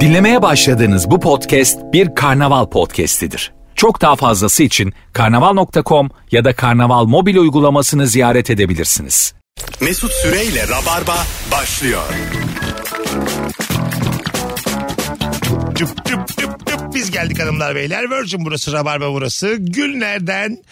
Dinlemeye başladığınız bu podcast bir karnaval podcastidir. Çok daha fazlası için karnaval.com ya da karnaval mobil uygulamasını ziyaret edebilirsiniz. Mesut Süreyle Rabarba başlıyor. Tüp tüp tüp tüp biz geldik hanımlar beyler. Virgin burası, Rabarba burası. Günlerden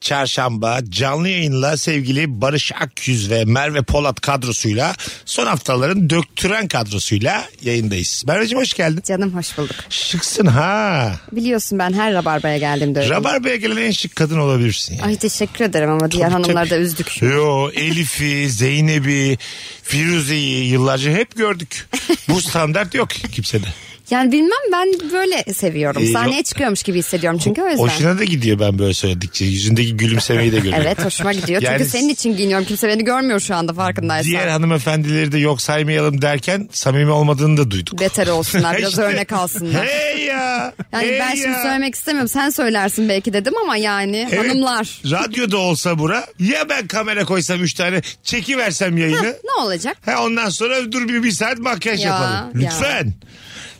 çarşamba canlı yayınla sevgili Barış Akyüz ve Merve Polat kadrosuyla son haftaların döktüren kadrosuyla yayındayız. Merveciğim hoş geldin. Canım hoş bulduk. Şıksın ha. Biliyorsun ben her rabarbaya geldiğimde öyle. Rabarba'ya gelen en şık kadın olabilirsin. Yani. Ay teşekkür ederim ama diğer hanımlar da üzdük. Yo Elif'i, Zeynep'i, Firuze'yi yıllarca hep gördük. Bu standart yok kimsede. Yani bilmem ben böyle seviyorum. Ee, Sahneye yok. çıkıyormuş gibi hissediyorum çünkü o yüzden. Hoşuna da gidiyor ben böyle söyledikçe. Yüzündeki gülümsemeyi de görüyorum. Evet hoşuma gidiyor Yani- çünkü senin için giyiniyorum. Kimse beni görmüyor şu anda farkındaysan. Diğer hanımefendileri de yok saymayalım derken samimi olmadığını da duyduk. Beter olsunlar biraz İşte. örnek alsınlar. Hey ya. Yani hey ben şimdi ya. söylemek istemiyorum. Sen söylersin belki dedim ama yani Evet, hanımlar. Radyoda olsa bura ya ben kamera koysam 3 tane çekiversem yayını. Ne olacak? ha, ondan sonra dur bir, bir saat makyaj Ya, yapalım. ya. Lütfen.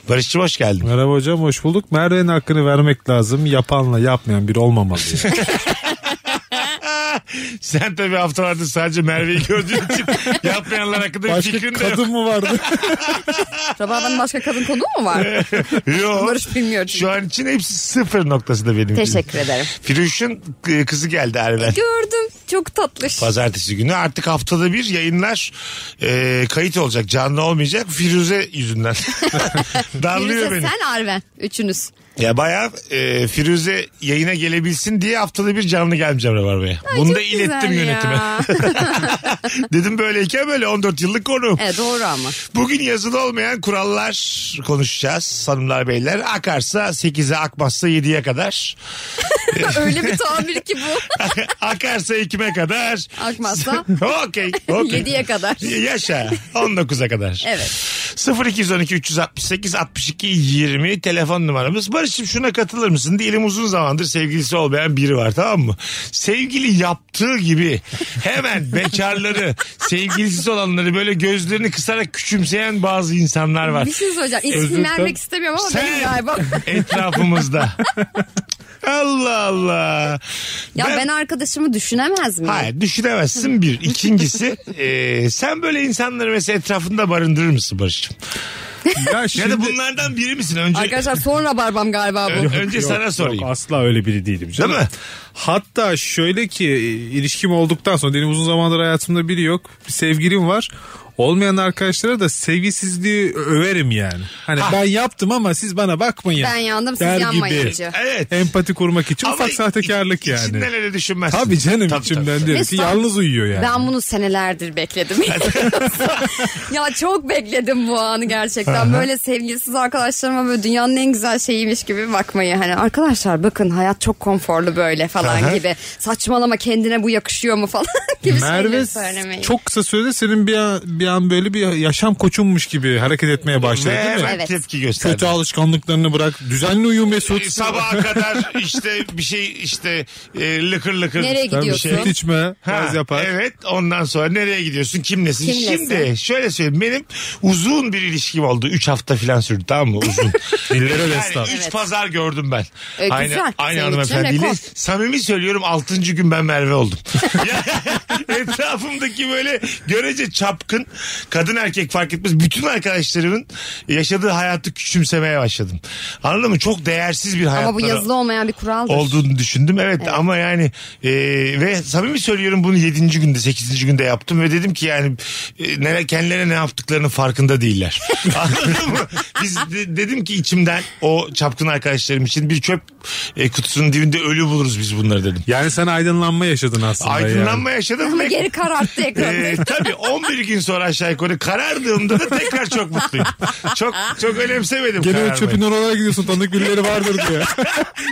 Barışçı hoş geldin. Merhaba hocam hoş bulduk. Merve'nin hakkını vermek lazım. Yapanla yapmayan bir olmamalı. yani. Sen tabii haftalarda sadece Merve'yi gördüğün için yapmayanlar hakkında bir Başka fikrin de yok. kadın mı vardı? Rabarbanın başka kadın konuğu mu var? Yok. Barış bilmiyor çünkü. Şu an için hepsi sıfır noktasında benim için. Teşekkür ederim. Firuş'un e, kızı geldi Arven. Gördüm. Çok tatlış. Pazartesi günü artık haftada bir yayınlar e, kayıt olacak canlı olmayacak Firuze yüzünden darlıyor Firuze beni. sen Arven. Üçünüz. Ya bayağı e, Firuze yayına gelebilsin diye haftada bir canlı gelmeyeceğim Rabarba'ya. Bunu çok da ilettim güzel ya. yönetime. Dedim böyleyken böyle 14 yıllık konu. Evet doğru ama. Bugün yazılı olmayan kurallar konuşacağız hanımlar beyler. Akarsa 8'e akmazsa 7'ye kadar. Öyle bir tabir ki bu. Akarsa 2'me kadar. Akmazsa? Okey. okey. 7'ye kadar. Yaşa. 19'a kadar. Evet. 0212 368 62 20 telefon numaramız. Barış'ım şuna katılır mısın? Diyelim uzun zamandır sevgilisi olmayan biri var tamam mı? Sevgili yaptığı gibi hemen bekarları, sevgilisiz olanları böyle gözlerini kısarak küçümseyen bazı insanlar var. Bir şey söyleyeceğim. İsim Özür dilerim. vermek istemiyorum ama benim galiba. etrafımızda. Allah Allah. Ya ben, arkadaşımı düşünemez miyim? Hayır düşünemezsin bir. İkincisi e, sen böyle insanları mesela etrafında barındırır mısın Barış'cığım? ya Ya şimdi... da bunlardan biri misin? Önce Arkadaşlar sonra barbam galiba bu. Ö- önce Yok, sana yok, sorayım. asla öyle biri değilim canım. Değil mi? Hatta şöyle ki ilişkim olduktan sonra benim uzun zamandır hayatımda biri yok. Bir sevgilim var. Olmayan arkadaşlara da sevgisizliği överim yani. Hani ben yaptım ama siz bana bakmayın. Ben yandım siz der gibi. yanmayınca. Evet. Empati kurmak için Ama ufak sahtekarlık i- yani. İçinden öyle düşünmezsin. Tabii canım Tabii, içimden tabii. diyorum ki Mesut abi, yalnız uyuyor yani. Ben bunu senelerdir bekledim. ya çok bekledim bu anı gerçekten. Böyle sevgilisiz arkadaşlarıma böyle dünyanın en güzel şeyiymiş gibi bakmayı. Hani arkadaşlar bakın hayat çok konforlu böyle falan gibi. Saçmalama kendine bu yakışıyor mu falan gibi Merve şeyleri söylemeyi. çok kısa sürede senin bir an, bir an böyle bir yaşam koçunmuş gibi hareket etmeye başladı Ve değil mi? hemen Evet. tepki gösterdi. Kötü alışkanlıklarını bırak. Düzenli uyu Mesut. E, Sabaha kadar işte bir şey işte e, lıkır lıkır. Nereye Ha, Tabii gidiyorsun? Süt şey içme. Gaz yapar. Evet ondan sonra nereye gidiyorsun kimlesin? Kimlesin? Şimdi şöyle söyleyeyim benim uzun bir ilişkim oldu. 3 hafta filan sürdü tamam mı uzun. Dillere yani destan. 3 Evet. pazar gördüm ben. E, aynı güzel. aynı Senin için hanımefendiyle. rekor. Samimi söylüyorum 6. gün ben Merve oldum. Yani etrafımdaki böyle görece çapkın kadın erkek fark etmez. Bütün arkadaşlarımın yaşadığı hayatı küçümsemeye başladım. Anladın mı? Çok değersiz bir hayat Ama bu yazılı olmayan bir kuraldır. olduğunu düşündüm. Evet, ama yani e, ve samimi söylüyorum bunu 7. günde 8. günde yaptım ve dedim ki yani e, nere, kendilerine ne yaptıklarının farkında değiller. Anladın mı? Biz de- dedim ki içimden o çapkın arkadaşlarım için bir çöp e, kutusunun dibinde ölü buluruz biz bunları dedim. Yani sen aydınlanma yaşadın aslında. Aydınlanma yaşadım Ama ve geri kararttı ekranı. e, tabii 11 gün sonra aşağı yukarı karardığımda da tekrar çok mutluyum. Çok çok önemsemedim Yani. Gene o kararmayı. çöpün oralara gidiyorsun tanıdık birileri vardır diye.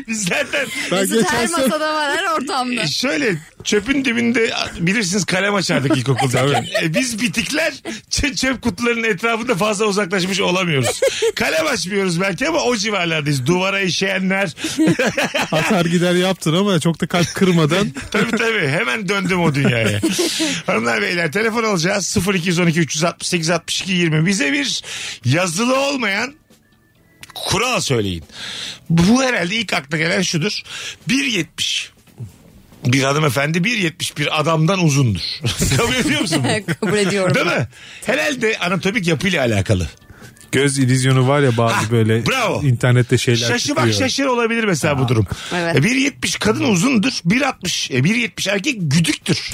Biz zaten Ben Mesut geçen her sene masada var her ortamda. E, Şöyle çöpün dibinde bilirsiniz kalem açardık ilkokulda. e, biz bitikler çö- çöp kutularının etrafında fazla uzaklaşmış olamıyoruz. Kalem açmıyoruz belki ama o civarlardayız. Duvara işeyenler. Atar gider yaptın ama çok da kalp kırmadan. tabii tabii hemen döndüm o dünyaya. Hanımlar beyler telefon alacağız 0212 368 62 20 bize bir yazılı olmayan kural söyleyin. Bu herhalde ilk akla gelen şudur. 1.70 bir hanımefendi 1.71 adamdan uzundur. Kabul ediyor musun? bunu? Kabul ediyorum. Değil mi? Herhalde anatomik yapıyla alakalı. Göz ilizyonu var ya Ah, bazı böyle bravo. internette şeyler Şaşı bak çıkıyor. şaşır olabilir mesela bu durum. Evet. E, 1.70 kadın uzundur. 1.60 e, 1.70 erkek güdüktür.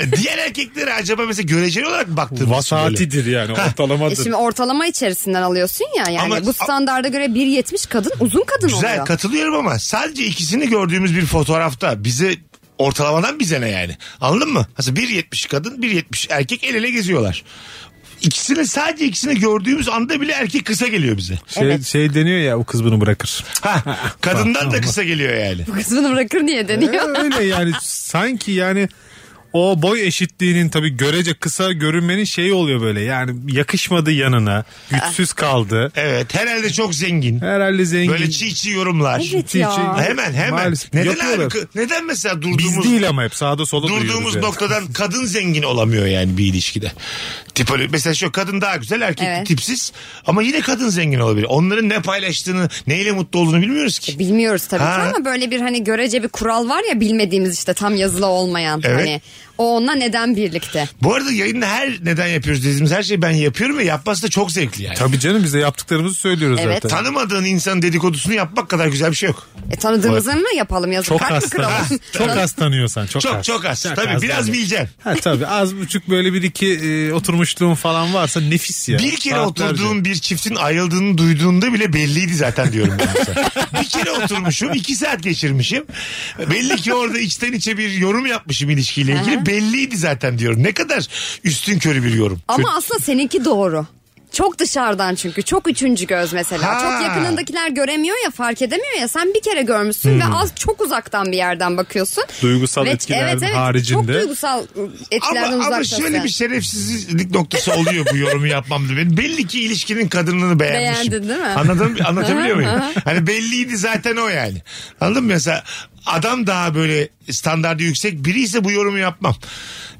E, Diğer erkeklere acaba mesela göreceli olarak baktığımız Vasatidir yani E ortalamadır. şimdi ortalama içerisinden alıyorsun ya yani Ama- bu standarda göre 1.70 kadın uzun kadın Güzel oluyor. katılıyorum ama sadece ikisini gördüğümüz bir fotoğrafta bize ortalamadan bize ne yani? Anladın mı? Mesela 1.70 kadın 1.70 erkek el ele geziyorlar. İkisini sadece ikisini gördüğümüz anda bile erkek kısa geliyor bize. Şey, şey deniyor ya o kız bunu bırakır. Ha, kadından da kısa geliyor yani. Kızını bırakır niye Ee, deniyor? Öyle yani sanki yani o boy eşitliğinin tabii görece kısa görünmenin şeyi oluyor böyle yani yakışmadı yanına güçsüz Ah. kaldı. Evet herhalde çok zengin. Herhalde zengin. Böyle çiğ çiğ yorumlar. Evet ya. Hemen hemen. Maalesef. Neden Yapıyorlar. abi? K- Neden mesela Biz durduğumuz değil ama hep sağda solda duyuyoruz durduğumuz yani. noktadan kadın zengin olamıyor yani bir ilişkide. Tip öyle- mesela şu kadın daha güzel erkek Evet. tipsiz ama yine kadın zengin olabilir. Onların ne paylaştığını neyle mutlu olduğunu bilmiyoruz ki. Bilmiyoruz tabii Ha. ki ama böyle bir hani görece bir kural var ya bilmediğimiz işte tam yazılı olmayan. Evet. Hani o onunla neden birlikte? Bu arada yayında her neden yapıyoruz dediğimiz her şeyi ben yapıyorum ve yapması da çok zevkli yani. Tabii canım biz de yaptıklarımızı söylüyoruz Evet. zaten. Tanımadığın insanın dedikodusunu yapmak kadar güzel bir şey yok. E tanıdığımızı mı yapalım yazılı Çok kart mı az kıralım? tanı- Çok az tanıyorsan. Çok, Çok az. çok az. Tabii biraz yani. bileceksin. Ha, tabii az buçuk böyle bir iki e, oturmuşluğun falan varsa nefis ya. Bir kere Saatlerce. oturduğum bir çiftin ayrıldığını duyduğunda bile belliydi zaten diyorum ben mesela. bir kere oturmuşum iki saat geçirmişim. Belli ki orada içten içe bir yorum yapmışım ilişkiyle ilgili. belliydi zaten diyorum. Ne kadar üstün körü bir yorum. Ama aslında seninki doğru. Çok dışarıdan çünkü. Çok üçüncü göz mesela. Ha. Çok yakınındakiler göremiyor ya fark edemiyor ya. Sen bir kere görmüşsün ve Hmm. az çok uzaktan bir yerden bakıyorsun. Duygusal Ve- etkilerin evet, evet, Çok haricinde. duygusal etkilerden Ama, ama uzaktasın. şöyle bir şey şerefsizlik noktası oluyor bu yorumu yapmamda. Ben belli ki ilişkinin kadınlığını beğenmişim. Beğendin değil mi? Anladın, anlatabiliyor muyum? hani belliydi zaten o yani. Anladın mı? Mesela adam daha böyle standartı yüksek biri ise bu yorumu yapmam.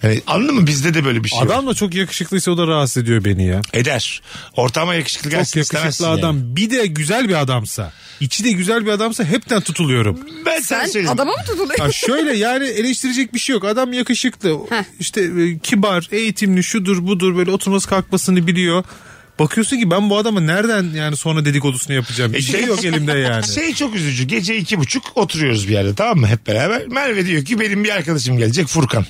Yani anladın mı? Bizde de böyle bir şey var. Adam da çok yakışıklıysa o da rahatsız ediyor beni ya. Eder. Ortama yakışıklı Çok gelsin istemezsin yakışıklı adam. Yani. Bir de güzel bir adamsa. içi de güzel bir adamsa hepten tutuluyorum. Ben sen Sen söyleyeyim. adama mı tutuluyorsun? Ya şöyle yani eleştirecek bir şey yok. Adam yakışıklı. işte e, kibar, eğitimli, şudur budur böyle oturması kalkmasını biliyor. Bakıyorsun ki ben bu adama nereden yani sonra dedikodusunu yapacağım. Bir şey yok elimde yani. E Şey çok üzücü. Gece iki buçuk oturuyoruz bir yerde tamam mı? Hep beraber. Merve diyor ki benim bir arkadaşım gelecek Furkan.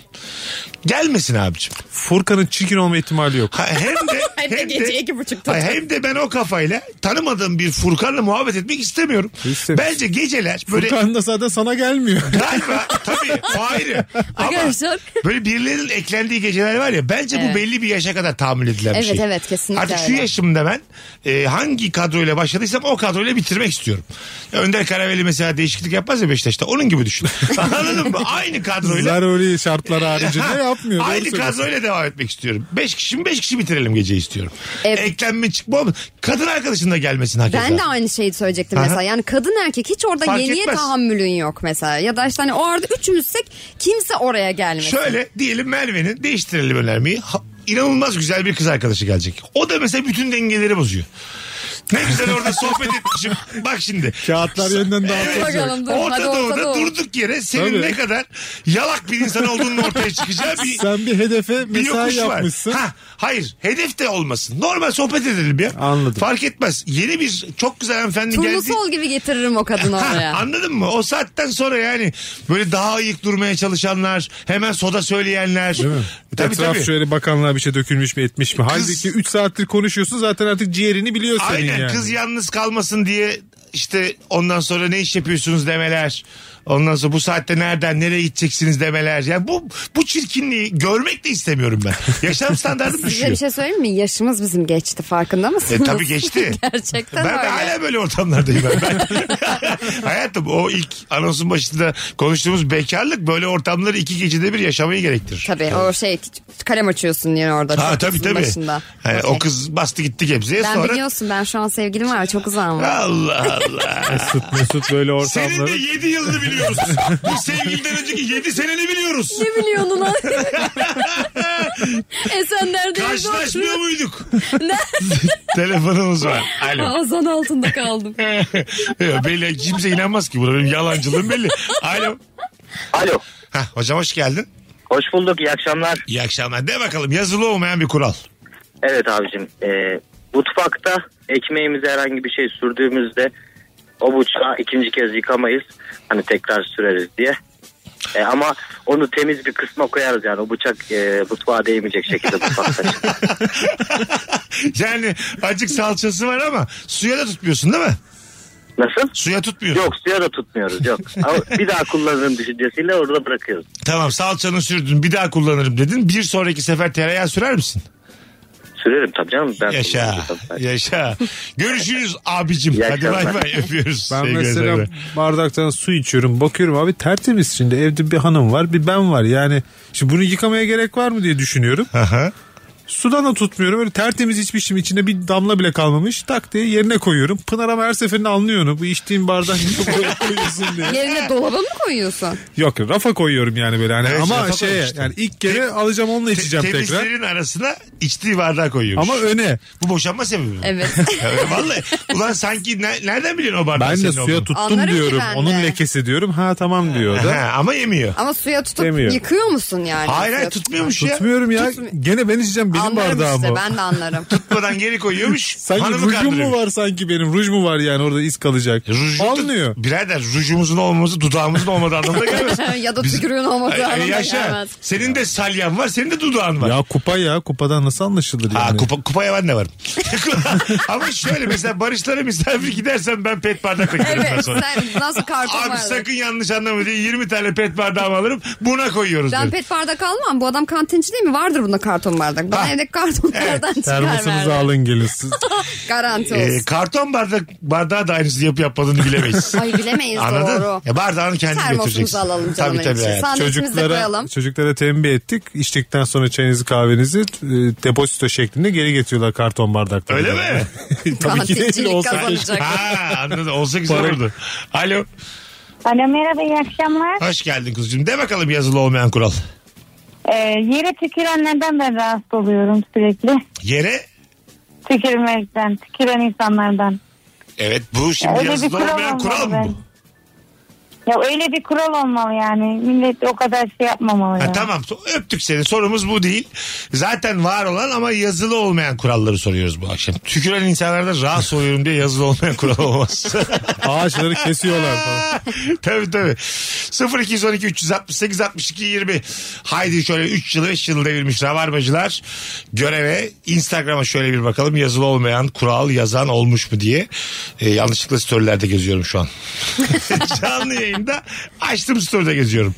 Gelmesin abicim. Furkan'ın çirkin olma ihtimali yok. Ha, hem de Hem de gece iki buçukta. Ha, hem de ben o kafayla tanımadığım bir Furkan'la muhabbet etmek istemiyorum. İstemiyorum. Bence geceler böyle Furkan da zaten sana gelmiyor. galiba tabii o ayrı. Ama Arkadaşlar. böyle birilerinin eklendiği geceler var ya bence bu Evet. belli bir yaşa kadar tahammül edilen bir Evet, şey. evet, kesinlikle Artık şu öyle. yaşımda ben e, hangi kadroyla başladıysam o kadroyla bitirmek istiyorum. Ya Önder Karaveli mesela değişiklik yapmaz ya Beşiktaş'ta onun gibi düşün. Anladın mı? Aynı kadroyla. Zaruri şartlar haricinde yapmıyor. Doğru Aynı söylüyorsun. kadroyla devam etmek istiyorum. Beş kişi mi beş kişi bitirelim gece istiyorum. Evet. Eklenme çıkma olmaz. Kadın arkadaşın da gelmesin hakeza. Ben de aynı şeyi söyleyecektim mesela. Yani kadın erkek hiç orada Fark yeniye etmez. tahammülün yok mesela. Ya da işte hani o arada üçümüzsek kimse oraya gelmesin. Şöyle diyelim Merve'nin değiştirelim önermeyi. Ha- inanılmaz güzel bir kız arkadaşı gelecek. O da mesela bütün dengeleri bozuyor. Ne güzel orada sohbet etmişim. Bak şimdi. Kağıtlar Şey- yönünden dağıtılacak. Bakalım dur. Orta hadi Doğu'da Orta Doğu. durduk yere senin Tabii. ne kadar yalak bir insan olduğunun ortaya çıkacağı bir, Sen bir hedefe bir mesai yokuş var. yapmışsın. Ha, hayır hedef de olmasın. Normal sohbet edelim ya. Anladım. Fark etmez. Yeni bir çok güzel hanımefendi Turnu geldi. sol gibi getiririm o kadını Ha, oraya. anladın mı? O saatten sonra yani böyle daha ayık durmaya çalışanlar, hemen soda söyleyenler. Değil mi? E, Tabii Etraf tabii. şöyle bakanlığa bir şey dökülmüş mü etmiş mi? Halbuki 3 saattir konuşuyorsun zaten artık ciğerini biliyor senin Aynen yani. kız yalnız kalmasın diye işte ondan sonra ne iş yapıyorsunuz demeler. Ondan sonra bu saatte nereden nereye gideceksiniz demeler. Yani bu bu çirkinliği görmek de istemiyorum ben. Yaşam standartım Size bir düşüyor. şey söyleyeyim mi? Yaşımız bizim geçti farkında mısınız? E, tabii geçti. Gerçekten Ben de öyle. hala böyle ortamlardayım ben. Ben- Hayatım o ilk anonsun başında konuştuğumuz bekarlık böyle ortamları iki gecede bir yaşamayı gerektirir. Tabii o şey kalem açıyorsun yani orada. Ha çok tabii kızın tabii. Başında. He, Okey. O kız bastı gitti gebzeye Ben sonra. biliyorsun ben şu an sevgilim var çok uzağım var. Allah Allah. Mesut, Mesut böyle Senin de ortamları. 7 yılını biliyoruz. Bu sevgilden önceki 7 seneni biliyoruz. ne biliyorsun lan? E, Esenler'de evde Karşılaşmıyor oturuyor. muyduk? Telefonumuz var. Alo. Azan altında kaldım. Yo, belli kimse inanmaz ki buna. Benim yalancılığım belli. Alo. Alo. Hah, hocam hoş geldin. Hoş bulduk. iyi akşamlar. İyi akşamlar. De bakalım yazılı olmayan bir kural. Evet abicim. E, mutfakta ekmeğimize herhangi bir şey sürdüğümüzde o bıçağı ikinci kez yıkamayız. Hani tekrar süreriz diye. E, ama onu temiz bir kısma koyarız yani. O bıçak e, mutfağa değmeyecek şekilde mutfakta. Yani acık salçası var ama suya da tutmuyorsun değil mi? Nasıl? Suya tutmuyorsun. Yok suya da tutmuyoruz yok. Ama bir daha kullanırım düşüncesiyle orada bırakıyoruz. Tamam salçanı sürdün bir daha kullanırım dedin. Bir sonraki sefer tereyağı sürer misin? Sürerim tabii canım. Ben Yaşa. kullanıyorum tabii. Yaşa. Görüşürüz abicim. İyi Hadi bay akşamlar. bay öpüyoruz. Ben Sevgili mesela Zeynep. bardaktan su içiyorum bakıyorum abi tertemiz şimdi evde bir hanım var bir ben var yani şimdi bunu yıkamaya gerek var mı diye düşünüyorum. Aha. Sudan da tutmuyorum öyle tertemiz içmişim içinde bir damla bile kalmamış tak diye yerine koyuyorum. Pınar ama her seferinde anlıyor onu bu içtiğim bardak niye böyle koyuyorsun diye. Yerine dolaba mı koyuyorsun? Yok rafa koyuyorum yani böyle hani Evet, rafa ama şey koymuştum. yani ilk kere alacağım onunla içeceğim Te- tekrar temizlerin arasına içtiği bardağı koyuyormuş. ama öne. Bu boşanma sebebi mi? Evet. Evet, Vallahi ulan sanki ne- nereden biliyorsun o bardağı Ben de senin suya olduğunu? tuttum Anlarım ki diyorum ben de. onun lekesi diyorum ha tamam diyor o da. Ha, ama yemiyor. Ama suya tutup Demiyor. yıkıyor musun yani? Hayır hayır Suya tutmuyormuş ya. Tutmuyorum ya gene ben içeceğim benim Anlarım bardağım işte o. ben de anlarım. Tutmadan geri koyuyormuş. Sanki hanımı E, rujum mu kandırıyormuş. var sanki benim? Ruj mu var yani orada iz kalacak? Ruju da- Anlıyor. birader rujumuzun olmaması dudağımızın olmadığı anlamına gelmez. ya da Biz- tükürüğün olmadığı Ay, ay, anlamına yaşa. gelmez. Senin de salyan var, senin de dudağın var. Ya kupa ya kupadan nasıl anlaşılır yani? Ha, kupa, kupaya ben de varım. Ama şöyle mesela Barışlara misafir gidersen ben pet bardakla giderim ben Evet sonra. sen nasıl kartın Abi var? sakın yanlış anlama diye 20 tane pet bardağımı alırım buna koyuyoruz. Ben derim. pet bardak almam. Bu adam kantinci değil mi? Vardır bunda karton bardak. Bana Ha. evde kartonlardan çıkar Termosunuzu verdi. alın gelin siz. Garanti olsun. Ee, karton bardak bardağı da aynısını yapıp yapmadığını bilemeyiz. Ay bilemeyiz Anladın? doğru. Ya bardağını kendin Termosumuzu götüreceksin. alalım canım. Tabii tabii. hayatım. Sandviçimizi çocuklara, koyalım. çocuklara tembih ettik. İçtikten sonra çayınızı kahvenizi e, depozito şeklinde geri getiriyorlar karton bardakta. Öyle mi? Tabii ki değil Kantincilik olsa. kazanacak. ha anladım. Olsa güzel olurdu. Alo. Alo merhaba iyi akşamlar. Hoş geldin kuzucuğum. De bakalım yazılı olmayan kural. Ee, yere tükürenlerden ben rahatsız oluyorum sürekli. Yere Tükürmekten, tüküren insanlardan. evet bu şimdi Öyle bir yazılı kural olmayan kural olmalı mı bu? bence. Ya öyle bir kural olmalı yani. Millet o kadar şey yapmamalı. Ha, ya. tamam öptük seni sorumuz bu değil. Zaten var olan ama yazılı olmayan kuralları soruyoruz bu akşam. Tüküren insanlardan rahatsız oluyorum diye yazılı olmayan kural olmaz. Ağaçları kesiyorlar falan. tabii tabii. 0212 368 62 20. Haydi şöyle 3 yılı 5 yılı devirmiş rabarbacılar. Göreve Instagram'a şöyle bir bakalım yazılı olmayan kural yazan olmuş mu diye. Ee, yanlışlıkla storylerde geziyorum şu an. Canlı yayında açtım story'de geziyorum.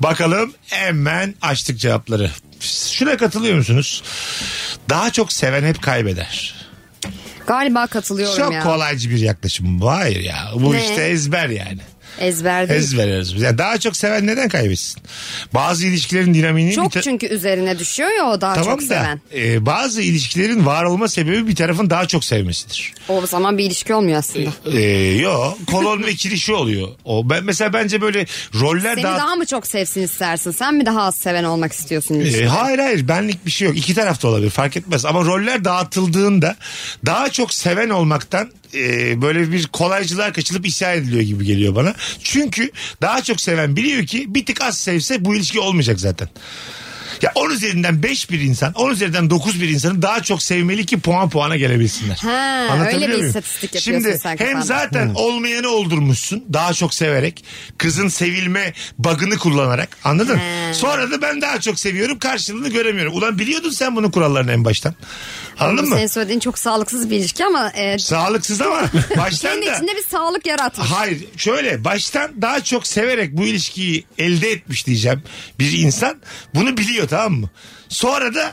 Bakalım hemen açtık cevapları. Şuna katılıyor musunuz? Daha çok seven hep kaybeder. Galiba katılıyorum Çok ya. kolaycı bir yaklaşım. bu. Hayır ya. Bu Ne? işte ezber yani. Ezber değil. Ez veririz. biz. Yani daha çok seven neden kaybetsin? Bazı ilişkilerin dinamiğini... bir Çok ta- çünkü üzerine düşüyor ya o daha Tamam çok da seven. e, bazı ilişkilerin var olma sebebi bir tarafın daha çok sevmesidir. O zaman bir ilişki olmuyor aslında. E, yo kolon ve kirişi oluyor. O ben mesela bence böyle roller Seni Ee, daha... daha mı çok sevsin istersin? Sen mi daha az seven olmak istiyorsun? E, ilişkide? hayır hayır benlik bir şey yok. İki tarafta olabilir fark etmez. Ama roller dağıtıldığında daha çok seven olmaktan e, böyle bir kolaycılığa kaçılıp isyan ediliyor gibi geliyor bana. Çünkü daha çok seven biliyor ki bir tık az sevse bu ilişki olmayacak zaten. Ya 10 üzerinden 5 bir insan, 10 üzerinden 9 bir insanı daha çok sevmeli ki puan puana gelebilsinler. Ha, Anlatabiliyor öyle bir muyum? istatistik yapıyorsun Şimdi sen hem kafanda. zaten olmayanı oldurmuşsun daha çok severek. Kızın sevilme bug'ını kullanarak. Anladın? He. Sonra da ben daha çok seviyorum karşılığını göremiyorum. Ulan biliyordun sen bunun kurallarını en baştan. Anladın mı? Senin söylediğin çok sağlıksız bir ilişki ama e, Sağlıksız ama baştan kendi da içinde bir sağlık yaratmış. Hayır şöyle baştan daha çok severek bu ilişkiyi elde etmiş diyeceğim bir insan bunu biliyor tamam mı? Sonra da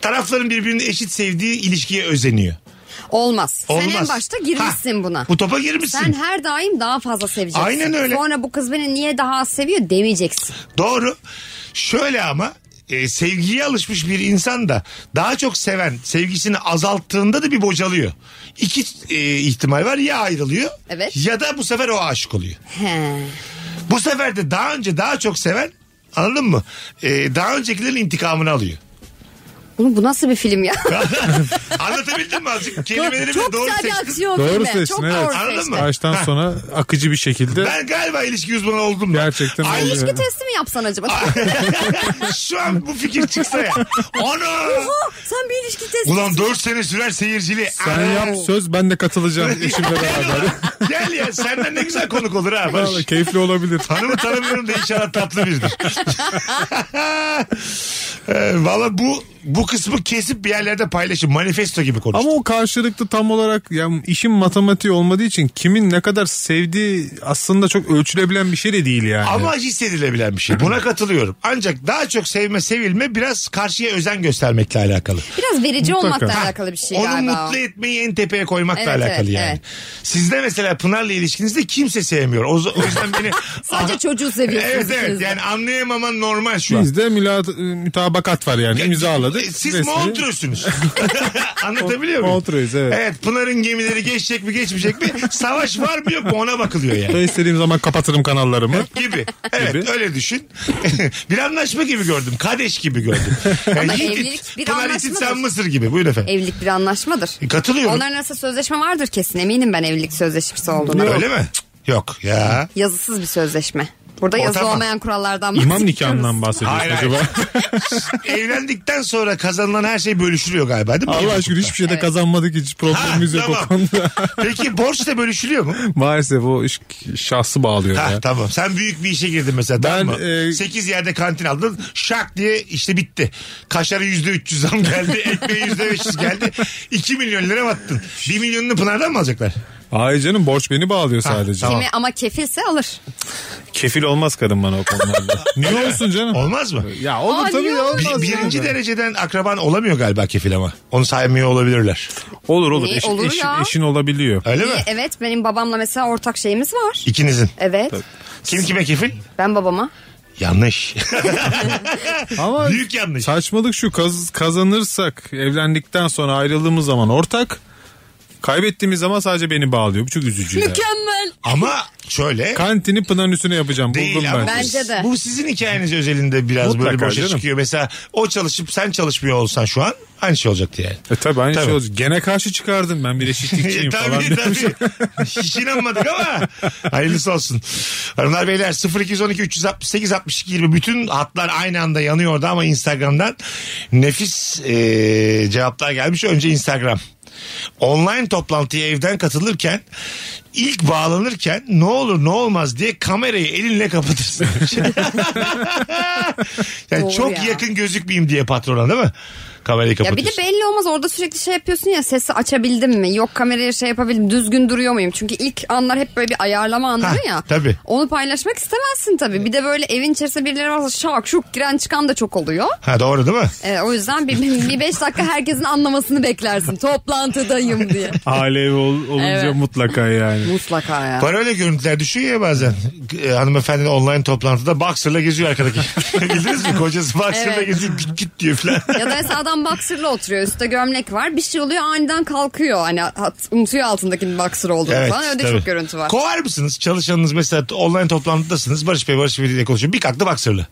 tarafların birbirini eşit sevdiği ilişkiye özeniyor. Olmaz. Olmaz. Sen en başta girmişsin Ha, buna. Bu topa girmişsin. Sen her daim daha fazla seveceksin. Aynen öyle. Sonra bu kız beni niye daha az seviyor demeyeceksin. Doğru. Şöyle ama e, sevgiye alışmış bir insan da daha çok seven sevgisini azalttığında da bir bocalıyor. İki e, ihtimal var ya ayrılıyor Evet. ya da bu sefer o aşık oluyor. He. Bu sefer de daha önce daha çok seven anladın mı? Ee, daha öncekilerin intikamını alıyor. Oğlum bu nasıl bir film ya? Anlatabildim mi azıcık? Kelimelerimi çok çok doğru güzel bir seçtim. aksiyon Doğru filmi. seçtin, çok evet. doğru Anladın seçtin. mı? Baştan sona akıcı bir şekilde. Ben galiba ilişki uzmanı oldum. ben. Gerçekten Ay, oldu. İlişki testi mi yapsan acaba? Şu an bu fikir çıksa ya. Onu. Oha, sen bir ilişki testi Ulan 4 sene sürer seyirciliği. Sen Aa. yap söz ben de katılacağım eşimle beraber. Gel ya senden ne güzel konuk olur ha. Barış. Vallahi keyifli olabilir. Hanımı tanımıyorum da inşallah tatlı biridir. ee, Valla bu bu kısmı kesip bir yerlerde paylaşın. Manifesto gibi konuştum. Ama o karşılıklı tam olarak yani işin matematiği olmadığı için kimin ne kadar sevdiği aslında çok ölçülebilen bir şey de değil yani. Ama hissedilebilen bir şey. Buna katılıyorum. Ancak daha çok sevme sevilme biraz karşıya özen göstermekle alakalı. Biraz verici Mutlaka. olmakla alakalı bir şey Onu galiba. o. mutlu etmeyi en tepeye koymakla Evet, alakalı evet, yani. evet. Sizde mesela Pınar'la ilişkinizde kimse sevmiyor. O, o yüzden beni... Sadece çocuğu seviyorsunuz Evet evet ikiniz de. yani anlayamaman normal şu an. Bizde müla- mütabakat var yani imzaladık. E, Siz Resmi- Montreux'sunuz. Anlatabiliyor muyum? Montreux'uz, evet. Evet Pınar'ın gemileri geçecek mi geçmeyecek mi? Savaş var mı yok mu ona bakılıyor yani. Ben istediğim zaman kapatırım kanallarımı. gibi. Evet Gibi. öyle düşün. bir anlaşma gibi gördüm. Kadeş gibi gördüm. Yani Ama Yiğit evlilik it, bir Pınar anlaşmadır. için sen Mısır gibi. Buyurun efendim. Evlilik bir E, anlaşmadır. Katılıyorum. Onların arasında sözleşme vardır kesin. Eminim ben evlilik sözleşmesi olduğuna. Öyle mi? Yok ya. Yazısız bir sözleşme. Burada O yazılı tamam. olmayan kurallardan İmam bahsediyoruz. nikahından bahsediyorsun Hayır, acaba. Evlendikten sonra kazanılan her şey bölüşülüyor galiba değil mi? Allah aşkına hiçbir şeyde kazanmadık hiç problemimiz Ha, yok tamam. o konuda. Peki borç da bölüşülüyor mu? Maalesef o iş şahsı bağlıyor Ha, ya. tamam. Sen büyük bir işe girdin mesela. Ben, Ben, tamam mı? e, 8 yerde kantin aldın. Şak diye işte bitti. Kaşarı %300 zam geldi. Ekmeği %500 geldi. 2 milyon lira battın. 1 milyonunu Pınar'dan mı alacaklar? Hayır canım borç beni bağlıyor sadece. tamam. Kimi ama kefilse alır. Kefil olmaz kadın bana o konularda. Niye olsun canım? Olmaz mı? Ya olur Aa, tabii niye ya olmaz? olmaz. Bir- birinci yani. dereceden akraban olamıyor galiba kefil ama. Onu saymıyor olabilirler. Olur olur. Niye Eşin, olur eşin, ya? eşin olabiliyor. Öyle mi? Niye? E, Evet benim babamla mesela ortak şeyimiz var. İkinizin. Evet. Kim kime kefil? Ben babama. Yanlış. Ama Büyük şey. yanlış. saçmalık şu kaz, kazanırsak evlendikten sonra ayrıldığımız zaman ortak kaybettiğimiz zaman sadece beni bağlıyor. Bu çok üzücü. ya. Mükemmel. ama şöyle. Kantini Pınar'ın üstüne yapacağım. Buldum Değil ben. ama Bence de. bu sizin hikayeniz özelinde biraz Mutlaka böyle boşa canım. çıkıyor. Mesela o çalışıp sen çalışmıyor olsan şu an aynı şey olacaktı yani. E tabii aynı Tabii. şey olacak. Gene karşı çıkardım ben bir E, tabii eşitlikçiyim falan. demiş. tabii. Hiç inanmadık ama hayırlısı olsun. Hanımlar beyler 0212 368 62 20 bütün hatlar aynı anda yanıyordu ama Instagram'dan nefis e, cevaplar gelmiş. Önce Instagram. Online toplantıya evden katılırken ilk bağlanırken ne olur ne olmaz diye kamerayı elinle kapatırsın. yani Doğru çok ya. yakın gözükmeyeyim diye patrona değil mi? Kamerayı Ya kapatırsın. bir de belli olmaz orada sürekli şey yapıyorsun ya sesi açabildim mi? Yok kameraya şey yapabildim düzgün duruyor muyum? Çünkü ilk anlar hep böyle bir ayarlama anları Ha, ya. tabii. Onu paylaşmak istemezsin tabii. Bir de böyle evin içerisinde birileri varsa şak şuk giren çıkan da çok oluyor. Ha doğru değil mi? Ee, o yüzden bir, bir beş dakika herkesin anlamasını beklersin. Toplantıdayım diye. Aile evi ol- olunca Evet. mutlaka yani. Mutlaka ya. Var öyle görüntüler düşüyor ya bazen. E, hanımefendi de online toplantıda boxer'la geziyor arkadaki. Bildiniz mi? Kocası boxer'la Evet. geziyor git git diyor falan. Ya da mesela adam boxer'la oturuyor üstte gömlek var bir şey oluyor aniden kalkıyor hani hat- unutuyor altındakinin boxer olduğunu falan öyle tabii. çok görüntü var. Kovar mısınız? Çalışanınız mesela online toplantıdasınız. Barış Bey, Barış Bey diye konuşuyor. Bir kalktı boxer'lı.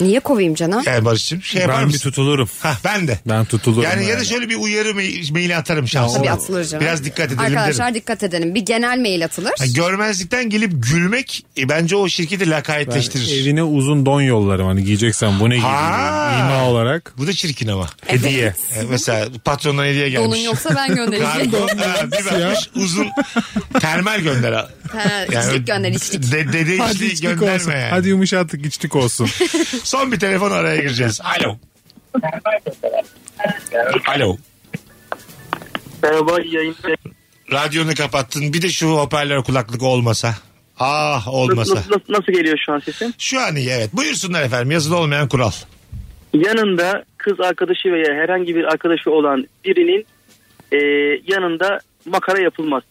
Niye kovayım canım? Yani Barış'cığım şey yapar Ben bir mısın? tutulurum. Ha ben de. Ben tutulurum. Yani ya da yani. şöyle bir uyarı me- maili atarım şahsına. Tabii atılır canım. Biraz dikkat edelim Arkadaşlar derim. dikkat edelim. Bir genel mail atılır. Ha, görmezlikten gelip gülmek e, bence o şirketi Ben lakayetleştirir. evine uzun don yollarım hani giyeceksen bu ne gibi Ha. ima olarak. Bu da çirkin ama. Evet. Hediye. E, mesela patrondan hediye gelmiş. Donun yoksa ben göndereceğim. Kargo, ha, bir bakmış uzun termal gönder. ha. Ha, içlik gönder, içlik. De, dede Hadi içliği içlik gönderme olsun. yani. Hadi yumuşattık içlik olsun. Son bir telefon araya gireceğiz. Alo. Alo. Merhaba yayın. Radyonu kapattın. Bir de şu hoparlör kulaklık olmasa. Ah olmasa. Nasıl, nasıl, nasıl geliyor şu an sesim? Şu an iyi evet. Buyursunlar efendim. Yazılı olmayan kural. Yanında kız arkadaşı veya herhangi bir arkadaşı olan birinin e, yanında makara yapılmaz.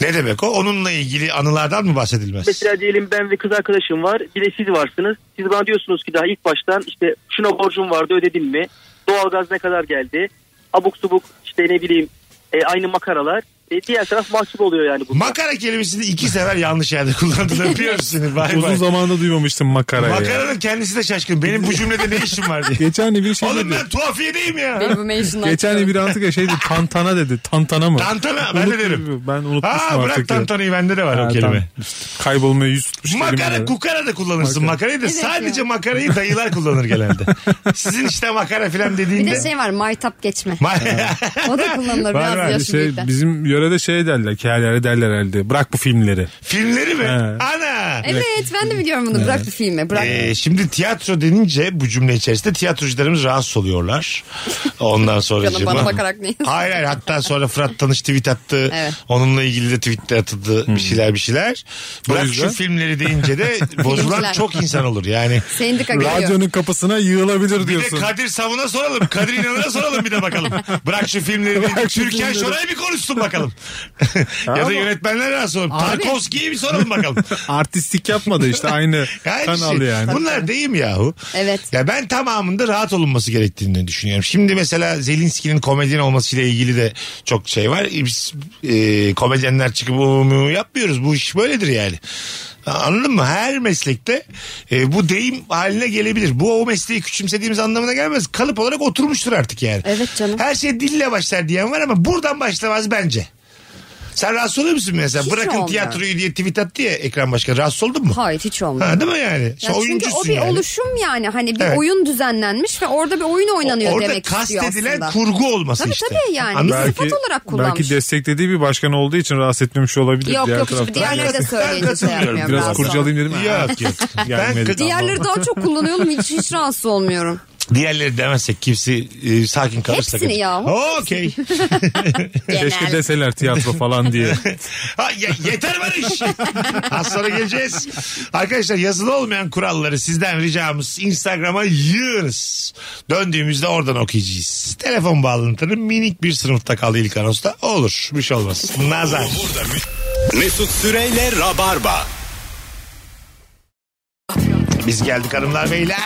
Ne demek o? Onunla ilgili anılardan mı bahsedilmez? Mesela diyelim ben ve kız arkadaşım var. Bir de siz varsınız. Siz bana diyorsunuz ki daha ilk baştan işte şuna borcum vardı ödedim mi? Doğalgaz ne kadar geldi? Abuk subuk işte ne bileyim e, aynı makaralar. E, diğer taraf mahcup oluyor yani. Bunda. Makara kelimesini iki sefer yanlış yerde kullandın. Öpüyorum seni. Bay uzun bay. zamanda duymamıştım makarayı. ya. Makaranın kendisi de şaşkın. Benim bu cümlede ne işim var diye. Geçen de bir şey Oğlum dedi. ben tuhafiyedeyim ya. Benim bu mention'dan Geçen de çıkıyorum. bir antika şey dedi tantana dedi. Tantana mı? Tantana ben de Unuttum. derim. Ben unutmuşum Aa, artık. bırak ya. tantanayı bende de var Ha, o kelime. tam. Kaybolmaya yüz tutmuş Makara kelimeler. kukara da kullanırsın makarayı da Evet sadece ya. makarayı dayılar kullanır genelde. Sizin işte makara filan Bir dediğinde. de şey var maytap geçme. Ma- O da kullanılır Var, biraz var, Bir yaşı şey, büyük de. bizim yörede şey derler kâlere derler herhalde. Bırak bu filmleri. Filmleri mi? He. Ana. Evet ben de biliyorum bunu. Bırak bir filme. Bırak. Ee, şimdi tiyatro denince bu cümle içerisinde tiyatrocularımız rahatsız oluyorlar. Ondan sonra Canım bana bakarak neyiz? Hayır hayır hatta sonra Fırat Tanış tweet attı. Evet. Onunla ilgili de tweetler atıldı Hmm. bir şeyler bir şeyler. O Bırak şu yüzden- filmleri deyince de bozulan Filmciler. çok insan olur yani. Sendika geliyor. Radyonun kapısına yığılabilir Bir de diyorsun. Kadir Savun'a soralım. Kadir İnanır'a soralım bir de bakalım. Bırak şu filmleri. deyince Bırak şu Türkan filmleri. Şoray'a bir konuşsun bakalım. ya da yönetmenlere de soralım. Tarkovski'ye bir soralım bakalım. Artistik yapmadı işte aynı Her kanal şey. yani. Bunlar deyim yahu. Evet. Ya ben tamamında rahat olunması gerektiğini düşünüyorum. Şimdi mesela Zelinski'nin komedyen olmasıyla ilgili de çok şey var. E Biz e, komedyenler çıkıp "Oo, mu" yapmıyoruz. Bu iş böyledir yani. Anladın mı? Her meslekte e, bu deyim haline gelebilir. Bu o mesleği küçümsediğimiz anlamına gelmez. Kalıp olarak oturmuştur artık yani. Evet canım. Her şey dille başlar diyen var ama buradan başlamaz bence. Sen rahatsız oluyor musun mesela? Hiç Bırakın olmuyor. tiyatroyu diye tweet attı ya Ekran Başkan. Rahatsız oldun mu? Hayır hiç olmuyor. Ha, değil mi yani? Sen Ya çünkü oyuncusun o bir yani. oluşum yani hani bir Evet. oyun düzenlenmiş ve orada bir oyun oynanıyor Orada demek istiyor aslında. kastedilen kurgu olması Tabii işte. tabii yani. Anladın Biz mı? sıfat olarak kullanmış. Belki desteklediği bir başkan olduğu için rahatsız etmemiş olabilir. Yok diğer yok taraftan. hiçbir diğerleri de Ben söyleyince şey katılıyorum. yapmıyorum. Biraz ben sana. kurcalayayım dedim. Ha, Yok yok. gelmedi. Ben- Diğerleri daha çok kullanıyorum hiç, hiç rahatsız olmuyorum. Diğerleri demezsek kimse e, sakin kalırsa. Hepsini ya. Okey. Keşke deseler tiyatro falan diye. Ha, ye- yeter Barış. Az sonra geleceğiz. Arkadaşlar yazılı olmayan kuralları sizden ricamız Instagram'a yığınız. Döndüğümüzde oradan okuyacağız. Telefon bağlantının minik bir sınıfta kaldı ilk anonsta. Olur. Bir şey olmaz. Nazar. Mesut Süreyle Rabarba. Biz geldik hanımlar beyler.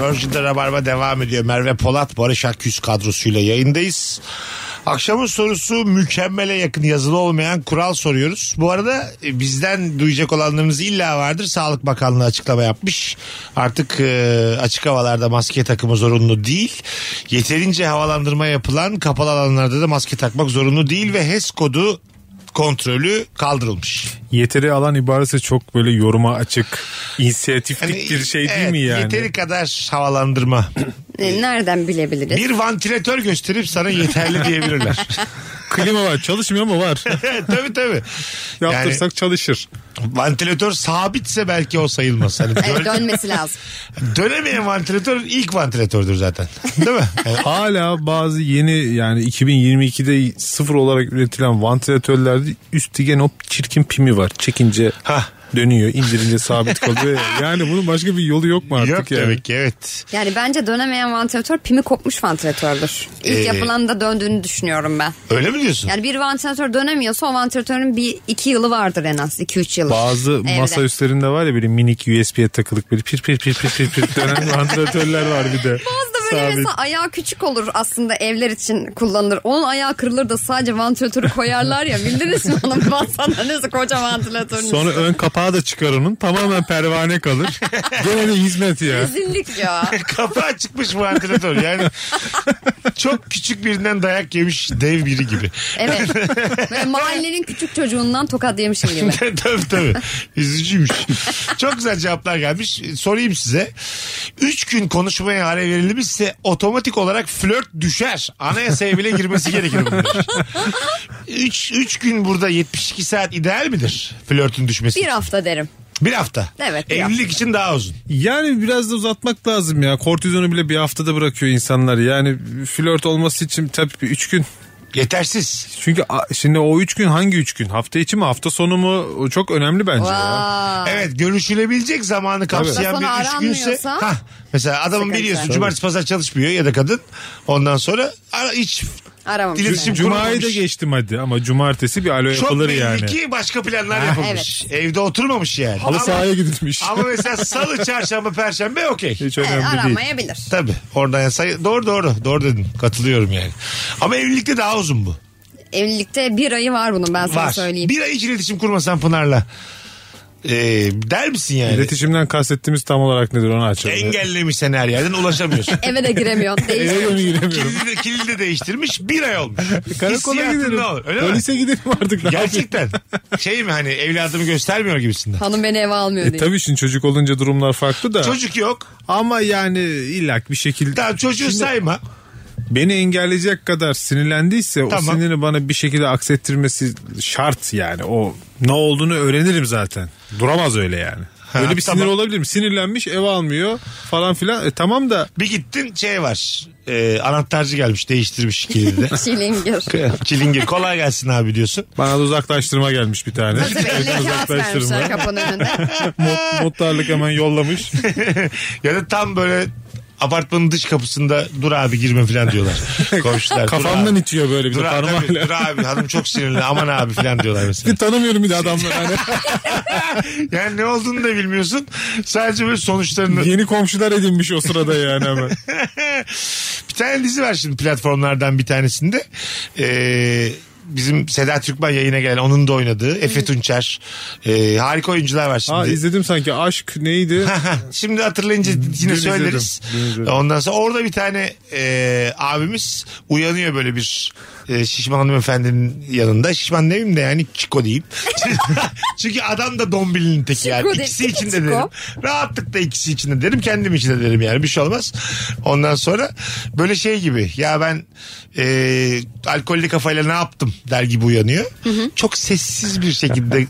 Virgin'de Rabarba devam ediyor. Merve Polat, Barış Akküz kadrosuyla yayındayız. Akşamın sorusu mükemmele yakın yazılı olmayan kural soruyoruz. Bu arada e, bizden duyacak olanlarınız illa vardır. Sağlık Bakanlığı açıklama yapmış. Artık e, açık havalarda maske takımı zorunlu değil. Yeterince havalandırma yapılan kapalı alanlarda da maske takmak zorunlu değil ve HES kodu kontrolü kaldırılmış. Yeteri alan ibaresi çok böyle yoruma açık, inisiyatiflik Yani, bir şey değil Hani evet, mi yani? Yeteri kadar havalandırma E, Nereden bilebiliriz? Bir vantilatör gösterip sana yeterli diyebilirler. Klima var çalışmıyor ama var. tabii tabii. Yani Yaptırsak çalışır. vantilatör sabitse belki o sayılmaz. Hani dön- Evet, dönmesi lazım. dönemeyen vantilatör ilk vantilatördür zaten. Değil mi? Yani Hala bazı yeni yani 2022'de sıfır olarak üretilen vantilatörlerde üstü gene o çirkin pimi var. Çekince Hah. dönüyor, indirince sabit kalıyor. ya. Yani bunun başka bir yolu yok mu artık Yok yani? demek ki evet. Yani bence dönemeyen vantilatör pimi kopmuş vantilatördür. İlk Ee, yapılan da döndüğünü düşünüyorum ben. Öyle mi diyorsun? Yani bir vantilatör dönemiyorsa o vantilatörün bir iki yılı vardır en az. iki üç yılı. Bazı Evde. masa üstlerinde var ya böyle minik USB'ye takılık böyle pir pir pir pir pir pir dönen vantilatörler var bir de. Bazı da Böyle sabit. mesela ayağı küçük olur aslında evler için kullanılır. Onun ayağı kırılır da sadece vantilatörü koyarlar ya. Bildiniz mi onu? Baksana nasıl koca vantilatörün. Sonra ön kapağı da çıkar onun. Tamamen pervane kalır. Gene de hizmet ya. Rezillik ya. Kafa çıkmış bu antrenatör. Yani çok küçük birinden dayak yemiş dev biri gibi. Evet. Böyle mahallenin küçük çocuğundan tokat yemişim gibi. tabii tabii. Üzücüymüş. Çok güzel cevaplar gelmiş. Sorayım size. Üç gün konuşmaya ara verilmişse otomatik olarak flört düşer. Anayasaya bile girmesi gerekir bunun. demiş. Üç, üç gün burada 72 saat ideal midir flörtün düşmesi? Bir hafta derim. Bir hafta. Evet, bir Evlilik için daha uzun. Yani biraz da uzatmak lazım ya. Kortizonu bile bir haftada bırakıyor insanlar. Yani flört olması için tabii bir üç gün. Yetersiz. Çünkü a- şimdi o üç gün hangi üç gün? Hafta içi mi hafta sonu mu? O çok önemli bence. ya. Vay. Evet görüşülebilecek zamanı kapsayan Hafta sonu bir üç günse. aranmıyorsa- Hah, mesela adamın Sıkıntı. biliyorsun cumartesi pazar çalışmıyor ya da kadın. Ondan sonra ara, hiç Aramam. İletişim- Cuma'yı da kurulmamış. geçtim hadi ama cumartesi bir alo Çok yapılır belli yani. ki başka planlar yapılmış. Evde oturmamış yani. Halı sahaya gidilmiş. Ama mesela salı, çarşamba, perşembe okey. Evet, Hiç önemli şey değil. aramayabilir. Tabii. Oradan yani say- doğru doğru. Doğru dedim. Katılıyorum yani. Ama evlilikte daha uzun bu. Evlilikte bir ayı var bunun ben sana Var. söyleyeyim. Bir ay hiç iletişim kurmasan Pınar'la. Ee, der misin yani? İletişimden kastettiğimiz tam olarak nedir onu açalım. Engellemiş seni her yerden ulaşamıyorsun. Eve de giremiyorsun. Değil. Eve dönü giremiyorum. kilidi, de, kilidi de değiştirmiş bir ay olmuş. Karakola Hissiyatın gidelim. ne olur, Öyle mi? Polise gidelim artık. ne yapayım? Gerçekten. Şey mi hani evladımı göstermiyor gibisinden. Hanım beni eve almıyor E diye. tabii şimdi çocuk olunca durumlar farklı da. Çocuk yok. Ama yani illak bir şekilde. Tamam çocuğu Şimdi sayma. Beni engelleyecek kadar sinirlendiyse Tamam. o sinirini bana bir şekilde aksettirmesi şart yani. O ne olduğunu öğrenirim zaten. Duramaz öyle yani. öyle bir sinir tamam. olabilir mi? Sinirlenmiş eve almıyor falan filan. E tamam da Bir gittin şey var. E, anahtarcı gelmiş değiştirmiş kilidi de. Çilingir. Çilingir kolay gelsin abi diyorsun. bana da uzaklaştırma gelmiş bir tane. Tabii elle kağıt vermişler kapının önünde. Mut- Mutlarlık hemen yollamış. Ya da tam böyle apartmanın dış kapısında dur abi girme falan diyorlar. Komşular. Kafamdan dur abi. itiyor böyle bir de Dur abi, tabii, parmağıyla. dur abi hanım çok sinirli aman abi falan diyorlar mesela. Bir tanımıyorum bir de adamları. Hani Yani ne olduğunu da bilmiyorsun. Sadece böyle sonuçlarını. yeni komşular edinmiş o sırada yani hemen. bir tane dizi var şimdi platformlardan bir tanesinde. Ee, bizim Sedat Türkmen yayına gelen onun da oynadığı Efe Tunçer. Ee, harika oyuncular var şimdi. Aa, izledim sanki aşk neydi? Aha, Şimdi hatırlayınca yine izledim, söyleriz. E, dün izledim. Ondan sonra orada bir tane e, abimiz uyanıyor böyle bir e, şişman hanımefendinin yanında. Şişman demeyeyim de yani Çiko diyeyim. Çünkü adam da dombilinin teki yani. Çiko de- İkisi için de Çiko. derim. Rahatlıkla ikisi için de derim. Kendim için de derim yani. Bir şey olmaz. Ondan sonra böyle şey gibi ya ben e, alkollü kafayla ne yaptım der gibi uyanıyor. Çok sessiz bir şekilde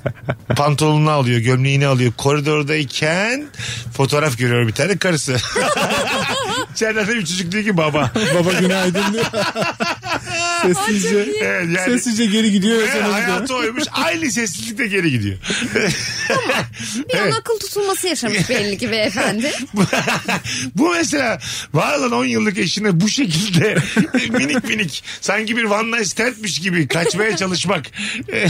pantolonunu alıyor, gömleğini alıyor. Koridordayken fotoğraf görüyor bir tane karısı. İçeriden de bir çocuk diyor ki baba. Baba günaydın diyor. Sessizce, Evet, yani- sessizce geri gidiyor. Ve sonra gidiyor. hayatı oymuş. Aynı sessizlikte geri gidiyor. Bir an akıl tutulması yaşamış belli ki beyefendi. bu mesela var olan 10 yıllık eşine bu şekilde minik minik sanki bir one night standmiş gibi kaçmaya çalışmak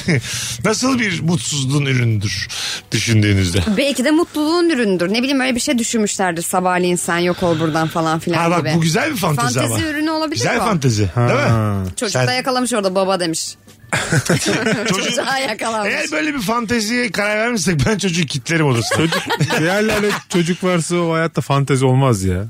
nasıl bir mutsuzluğun ürünüdür düşündüğünüzde? Belki de mutluluğun ürünüdür. Ne bileyim öyle bir şey düşünmüşlerdir. Sabahleyin sen yok ol buradan falan filan Ha bak gibi. bu güzel bir fantezi, Fantezi ama. ürünü olabilir Güzel bu. fantezi değil mi? Çocuk Sen- da yakalamış orada baba demiş. Çocuğa yakalanmış. Eğer böyle bir fanteziye karar vermişsek ben çocuğu kitlerim odasına. Çocuk, diğerlerle çocuk varsa o hayatta fantezi olmaz ya.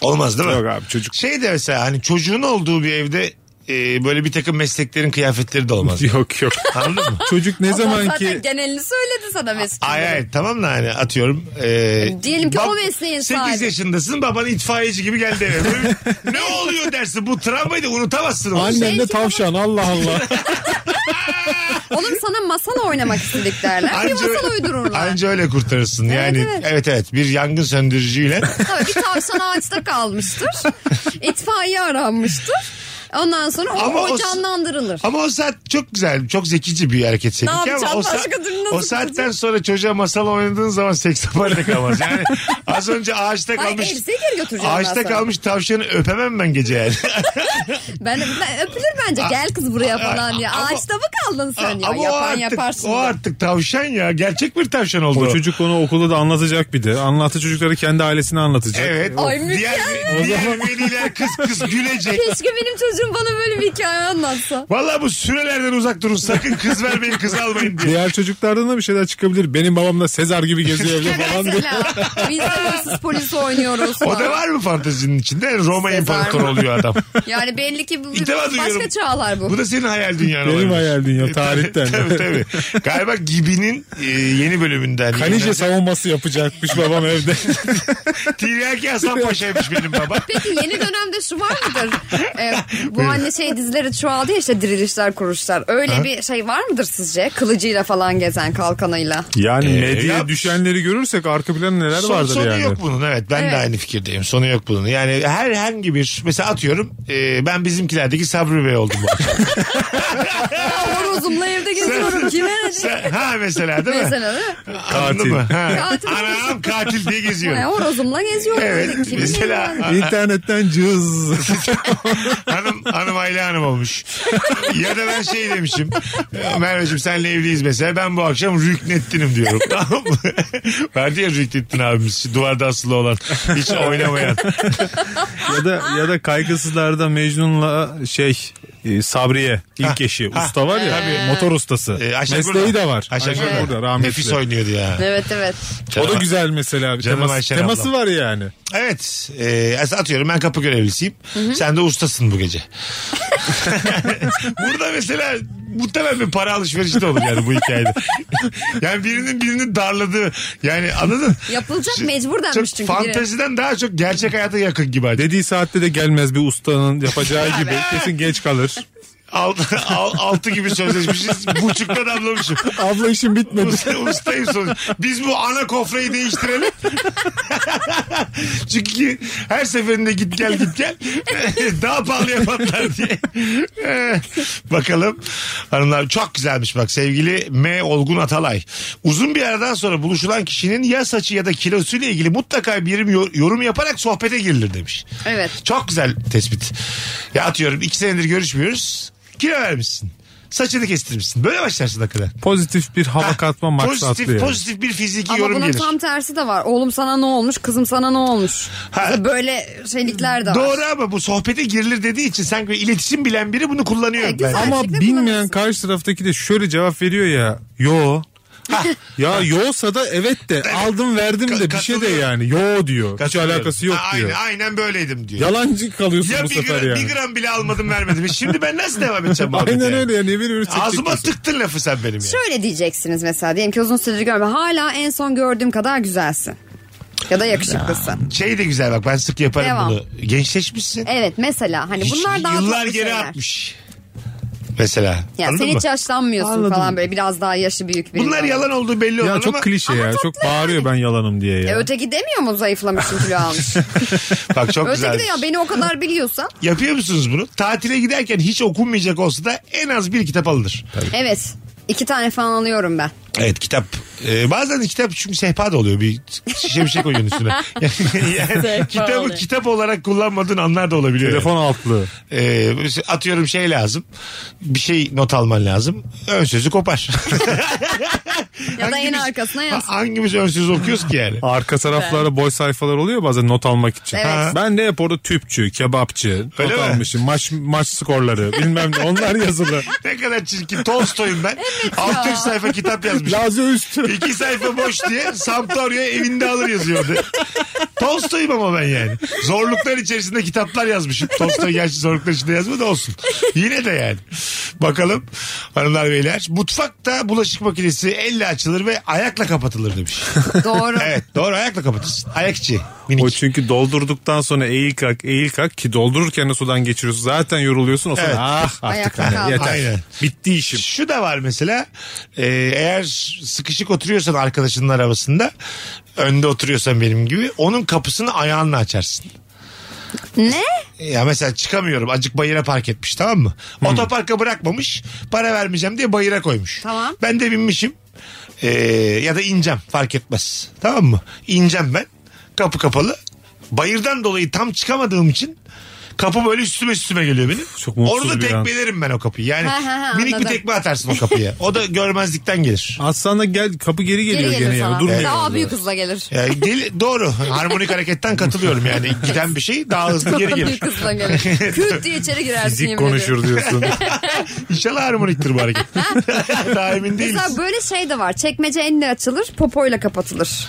Olmaz değil mi? Yok abi çocuk Şey de mesela hani çocuğun olduğu bir evde e, böyle bir takım mesleklerin kıyafetleri de olmaz. yok yok. Anladın mı? Çocuk ne Ama zaman Zaten ki genelini söyledi sana Mesut. Ay ay tamam da hani atıyorum. E, Diyelim ki o mesleğin 8 sahibi. yaşındasın baban itfaiyeci gibi geldi eve. Böyle, ne oluyor dersin bu travmayı da unutamazsın. onu. Şey- annen de tavşan Allah Allah. Oğlum sana masal oynamak istedik derler. bir masal uydururlar. anca öyle kurtarırsın. yani evet evet. evet. bir yangın söndürücüyle Tabii bir tavşan ağaçta kalmıştır. İtfaiye aranmıştır. Ondan sonra o, Ama o o- canlandırılır. ama o saat çok güzel, çok zekici bir hareket seninki Ne ama yapacaksın? o, saat- Başka türlü nasıl o saatten sonra çocuğa masal oynadığın zaman seks da kalmaz. Yani az önce ağaçta Hayır, kalmış elbiseyi geri götüreceğim ben ağaçta sana. kalmış tavşanı öpemem ben gece yani. Ben, ben öpülür bence gel kız buraya falan diye. ama- Ağaçta mı kaldın sen ya? Ama o Yapan artık, yaparsın. o da. artık tavşan ya. Gerçek bir tavşan oldu. o çocuk onu okulda da anlatacak bir de. Anlattı çocukları kendi ailesine anlatacak. Evet. Ay, diğer, mükemmel. O Diğer zaman veliler kız kız gülecek. Keşke benim çocuğum bana böyle bir hikaye anlatsa. Valla bu sürelerden uzak durun. Sakın kız vermeyin kız almayın diye. diğer çocuklardan da bir şeyler çıkabilir. Benim babam da Sezar gibi geziyor evde falan. diye. Mesela biz de hırsız polisi oynuyoruz. O da falan. var mı fantezinin içinde? Roma Sezar. imparatoru oluyor adam. Yani belli ki bu, İlk defa duyuyorum. başka çağlar bu. Bu da senin hayal dünyan Benim olabilir. hayal dünya, E, tabii, tarihten. tabii tabii. Galiba Gibi'nin e, yeni bölümünden. Kanice savunması yapacakmış babam evde. Tiryaki Hasan Paşa'ymış benim baba. Peki yeni dönemde şu var mıdır? Ee, bu anne şey dizileri çoğaldı ya işte dirilişler kuruşlar. Öyle bir şey var mıdır sizce? Kılıcıyla falan gezen kalkanıyla. Yani Ee, medyaya ya- düşenleri görürsek arka plan neler Son- vardır sonu yani. yok bunun evet ben Evet. de aynı fikirdeyim sonu yok bunun yani herhangi bir mesela atıyorum e, ben bizimkilerdeki Sabri Bey oldum bu akşam. Horozumla evde geziyorum. Kime ne? Sen- ha mesela değil mi? Mesela değil mi? Anladın mı? Ha. Katil. Anam katil diye Yani geziyorum. horozumla geziyorum. Evet Kimin mesela ne? İnternetten cız. hanım hanım aile hanım olmuş. ya da ben şey demişim. Merveciğim senle evliyiz mesela ben bu akşam rüknettinim diyorum. Tamam mı? Vardı ya rüknettin abimiz şu duvarda asılı olan hiç oynamayan. ya da ya da kaygısızlarda Mecnun'la şey e, Sabriye ilk eşi usta var ya motor ustası. Ee, Ayşe Mesleği Gurda. de var. Ayşe Ayşe Gurda. Gurda, rahmetli. Nefis oynuyordu ya. Evet evet. O da güzel mesela. Canım Temas, Ayşen teması ablam. var yani. Evet. E, aslında atıyorum ben kapı görevlisiyim. Sen de ustasın bu gece. Burada mesela muhtemelen bir para alışverişi de olur yani bu hikayede. yani birinin birini darladığı yani anladın? Yapılacak Şu- mecbur denmiş çok çünkü. Fanteziden daha çok gerçek hayata yakın gibi. acaba. Dediği saatte de gelmez bir ustanın yapacağı gibi. Kesin geç kalır. Altı, al- altı gibi sözleşmişiz. Buçukta damlamışım. Abla işim bitmedi. Usta, ustayım sonuç. Biz bu ana kofrayı değiştirelim. Çünkü her seferinde git gel git gel. Daha pahalı yaparlar diye. Bakalım. Hanımlar çok güzelmiş bak sevgili M. Olgun Atalay. Uzun bir aradan sonra buluşulan kişinin ya saçı ya da kilosuyla ilgili mutlaka bir yorum- yorum yaparak sohbete girilir demiş. Evet. Çok güzel tespit. Ya atıyorum iki senedir görüşmüyoruz. Kilo vermişsin. Saçını kestirmişsin. Böyle başlarsın hakikaten. Pozitif bir hava katma maksatlı Pozitif, yani. pozitif bir fiziki Ama yorum bunun gelir. tam tersi de var. Oğlum sana ne olmuş? Kızım sana ne olmuş? Ha. Böyle şeylikler de var. Doğru ama bu sohbete girilir dediği için sanki bir iletişim bilen biri bunu kullanıyor. E, güzel. bence. Ama Gerçekten bilmeyen kullanırsın. karşı taraftaki de şöyle cevap veriyor ya. Yo. ya yo'sa da evet de aldım verdim de bir şey de katılıyorum. yani yo diyor. Hiç Katılıyorum. alakası yok Ha, diyor. Aynen, aynen böyleydim diyor. Yalancı kalıyorsun ya bu bir, sefer gram, yani. bir gram bile almadım vermedim. E Şimdi ben nasıl devam edeceğim muhabbete Aynen yani? öyle yani. Ne bir ürün çekecek Ağzıma misin? tıktın lafı sen benim yani. Şöyle diyeceksiniz mesela diyelim ki uzun süredir görmüyorum. Hala en son gördüğüm kadar güzelsin. Ya da yakışıklısın. Şey de güzel bak ben sık yaparım Devam. bunu. Gençleşmişsin. Evet mesela hani Hiç- bunlar daha yıllar tatlı geri şeyler. atmış. Mesela. Ya Anladın sen mı? hiç yaşlanmıyorsun Anladım. falan böyle biraz daha yaşı büyük biri. Bunlar yalan olduğu belli olan Ya çok ama klişe ya. Çok bağırıyor ben yalanım diye E ya. öteki demiyor mu zayıflamışım kilo almış? bak çok güzel. öteki de ya beni o kadar biliyorsa. Yapıyor musunuz bunu? Tatile giderken hiç okunmayacak olsa da en az bir kitap alınır. Evet. iki tane falan alıyorum ben. Evet kitap. Ee, bazen de kitap çünkü sehpa da oluyor. Bir şişe bir şey koyuyorsun üstüne. Yani- yani kitabı oluyor. kitap olarak kullanmadığın anlar da olabiliyor. yani. Telefon altlığı. Ee, mesela atıyorum şey lazım. Bir şey not alman lazım. Ön sözü kopar. Ya da en Hangimiz- arkasına Ha, yaz. Hangimiz ön sözü okuyoruz ki yani? Arka taraflarda boy sayfalar oluyor bazen not almak için. Evet. Ha. Ben de hep orada tüpçü, kebapçı Öyle not mi? almışım. Maç maç skorları bilmem ne onlar yazılı. Ne kadar çirkin. Tolstoy'um ben. 600 sayfa kitap yazmışım. Lazio üstü. İki sayfa boş diye Sampdoria evinde alır yazıyordu. Tolstoy'um ama ben yani. Zorluklar içerisinde kitaplar yazmışım. Tolstoy gerçi zorluklar içinde yazmadı olsun. Yine de yani. Bakalım hanımlar beyler. Mutfakta bulaşık makinesi elle açılır ve ayakla kapatılır demiş. Doğru. evet doğru ayakla kapatırsın. Ayakçı. Minik. O çünkü doldurduktan sonra eğil kalk eğil kalk ki doldururken de sudan geçiriyorsun. Zaten yoruluyorsun o sonra Evet. ah artık Ayakta hani kal. yeter. Aynen. Bitti işim. Şu da var mesela e, eğer sıkışık oturuyorsan arkadaşının arabasında önde oturuyorsan benim gibi onun kapısını ayağınla açarsın. ne? Ya mesela çıkamıyorum acık bayıra park etmiş tamam mı? Hmm. Otoparka bırakmamış para vermeyeceğim diye bayıra koymuş. Tamam. Ben de binmişim Ee, ya da ineceğim fark etmez tamam mı? İneceğim ben kapı kapalı. Bayırdan dolayı tam çıkamadığım için Kapı böyle üstüme üstüme geliyor benim. Çok mutsuz Orada bir an. tekmelerim ben o kapıyı. Yani Ha, ha, ha, minik bir anladım. tekme atarsın o kapıya. O da görmezlikten gelir. Aslan da gel kapı geri Geri geliyor gelir gene sana. ya. Durmuyor. Daha orada. büyük hızla gelir. Yani gel- doğru. Harmonik hareketten katılıyorum yani. Giden bir şey daha hızlı geri gelir. büyük hızla gelir. Küt diye içeri girersin Fizik yemin ediyorum. konuşur diyorsun. İnşallah harmoniktir bu hareket. daha emin değiliz. Mesela böyle şey de var. Çekmece elle açılır, popoyla kapatılır.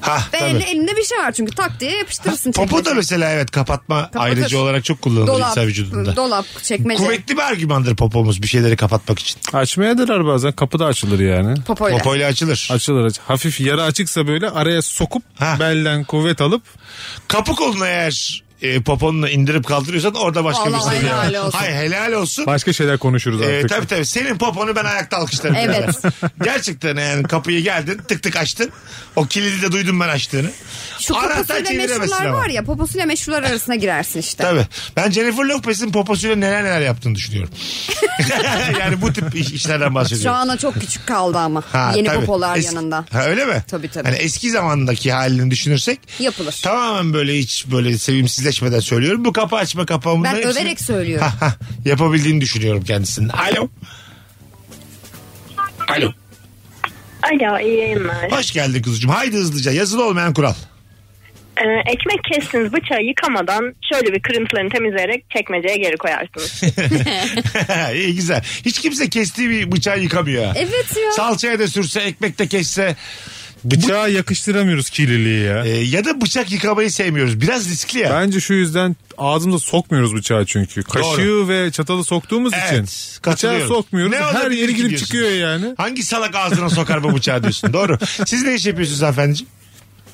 Ha, Ve tabii. elinde, elinde bir şey var çünkü tak diye yapıştırırsın Popo da çekmece. mesela evet kapatma Kapatır. ayrıcı olarak çok kullanılır insan vücudunda. dolap, çekmece. Kuvvetli bir argümandır popomuz bir şeyleri kapatmak için. Açmaya derer bazen. Kapı da açılır yani. Popoyla. Popoyla açılır. Açılır aç. Hafif yara açıksa böyle araya sokup Ha. belden kuvvet alıp Kapı kolunu eğer e, poponla indirip kaldırıyorsan orada başka Vallahi bir şey. helal yani. olsun. Hayır helal olsun. başka şeyler konuşuruz Ee, artık. tabii tabii. Senin poponu ben ayakta alkışlarım. Evet. Gerçekten yani kapıyı geldin tık tık açtın. O kilidi de duydum ben açtığını. Şu poposuyla meşhurlar ama. var ya poposuyla meşhurlar arasına girersin işte. Tabii. Ben Jennifer Lopez'in poposuyla neler neler yaptığını düşünüyorum. yani bu tip iş- işlerden bahsediyorum. Şu ana çok küçük kaldı ama. Ha, Yeni tabii. popolar Eski- yanında. Ha, öyle mi? Tabii, tabii. Hani eski zamandaki halini düşünürsek. Yapılır. Tamamen böyle hiç böyle sevimsizleşmeden söylüyorum. Bu kapı açma kapağımda. Ben överek söylüyorum. Yapabildiğini düşünüyorum kendisinin. Alo. Alo. Alo iyi yayınlar. Hoş geldin kuzucuğum. Haydi hızlıca yazılı olmayan kural. Ee, ekmek kestiniz bıçağı yıkamadan şöyle bir kırıntılarını temizleyerek çekmeceye geri koyarsınız. İyi güzel. Hiç kimse kestiği bir bıçağı yıkamıyor. ha. Evet ya. Salçaya da sürse, ekmek de kesse. Bıçağa yakıştıramıyoruz kirliliği ya. e, ya da bıçak yıkamayı sevmiyoruz. Biraz riskli ya. Bence şu yüzden ağzımıza sokmuyoruz bıçağı çünkü. Kaşığı ve çatalı soktuğumuz için. Bıçağı katılıyorum. sokmuyoruz. Ne Her olabilir yeri ki girip diyorsun. çıkıyor yani. Hangi salak ağzına sokar bu bıçağı diyorsun. Doğru. Siz ne iş yapıyorsunuz efendiciğim?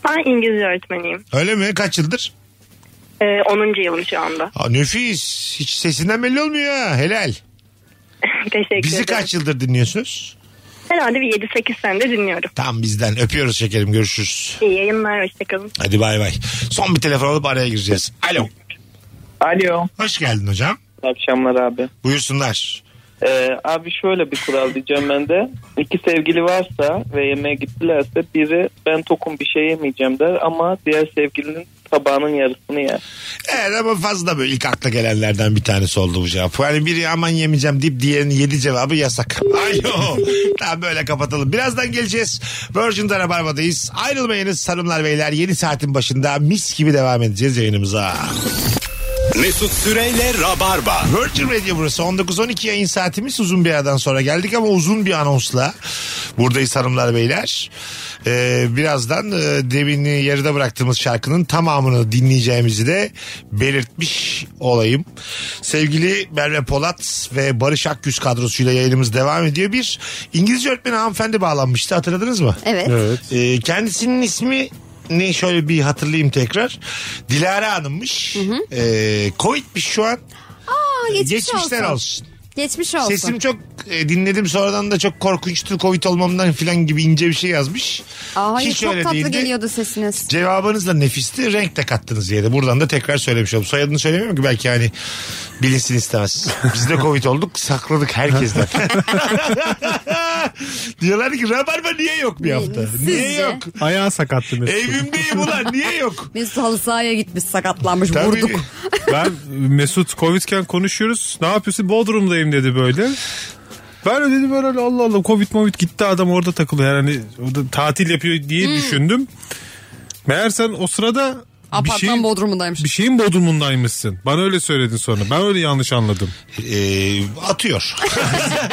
Ben İngilizce öğretmeniyim. Öyle mi? Kaç yıldır? Ee, 10. yılım şu anda. Aa, nefis. Hiç sesinden belli olmuyor ha. Helal. Teşekkür Bizi ederim. kaç yıldır dinliyorsunuz? Herhalde bir 7-8 senedir dinliyorum. Tam bizden. Öpüyoruz şekerim. Görüşürüz. İyi yayınlar hoşçakalın. Hadi bay bay. Son bir telefon alıp araya gireceğiz. Alo. Alo. Hoş geldin hocam. İyi akşamlar abi. Buyursunlar. Ee, abi şöyle bir kural diyeceğim ben de. İki sevgili varsa ve yemeğe gittilerse biri ben tokum bir şey yemeyeceğim der ama diğer sevgilinin tabağının yarısını yer. Evet ama fazla böyle ilk akla gelenlerden bir tanesi oldu bu cevap. Yani biri aman yemeyeceğim deyip diğerinin yedi cevabı yasak. Alo. tamam böyle kapatalım. Birazdan geleceğiz. Virgin'de Rabarba'dayız. Ayrılmayınız hanımlar beyler. Yeni saatin başında mis gibi devam edeceğiz yayınımıza. Mesut Süreyle Rabarba. Virgin Radio burası. 19-12 yayın saatimiz uzun bir aradan sonra geldik ama uzun bir anonsla buradayız hanımlar beyler. Ee, birazdan e, demini yarıda bıraktığımız şarkının tamamını dinleyeceğimizi de belirtmiş olayım. Sevgili Merve Polat ve Barış Akgüz kadrosuyla yayınımız devam ediyor. Bir İngilizce öğretmeni hanımefendi bağlanmıştı hatırladınız mı? Evet. Ee, kendisinin ismi ne şöyle bir hatırlayayım tekrar. Dilara Hanım'mış. Ee, Covid'miş şu an. Aa, geçmiş Geçmişler olsun. olsun. Geçmiş olsun. Sesim çok e, dinledim sonradan da çok korkunçtu Covid olmamdan filan gibi ince bir şey yazmış. Aa, hayır, Hiç çok öyle tatlı değildi. geliyordu sesiniz. Cevabınız da nefisti renk de kattınız diye de buradan da tekrar söylemiş oldum. Soyadını söylemiyorum ki belki hani bilinsin istemez. Biz de Covid olduk sakladık herkesten. Diyorlar ki Rabarba niye yok bir hafta? Sizce? Niye yok? Ayağı sakattı mesela. Evimdeyim ulan niye yok? Mesut halı sahaya gitmiş sakatlanmış Tabii. şey- vurduk. Ben Mesut Covid'ken konuşuyoruz. Ne yapıyorsun? Bodrum'dayım dedi böyle. Ben de dedim herhalde Allah Allah Covid Covid gitti adam orada takılıyor. Yani orada tatil yapıyor diye Hmm. düşündüm. Meğer sen o sırada bir, Apartman şeyin, bodrumundaymış. bir şeyin bodrumundaymışsın. Bana öyle söyledin sonra. Ben öyle yanlış anladım. Ee, atıyor.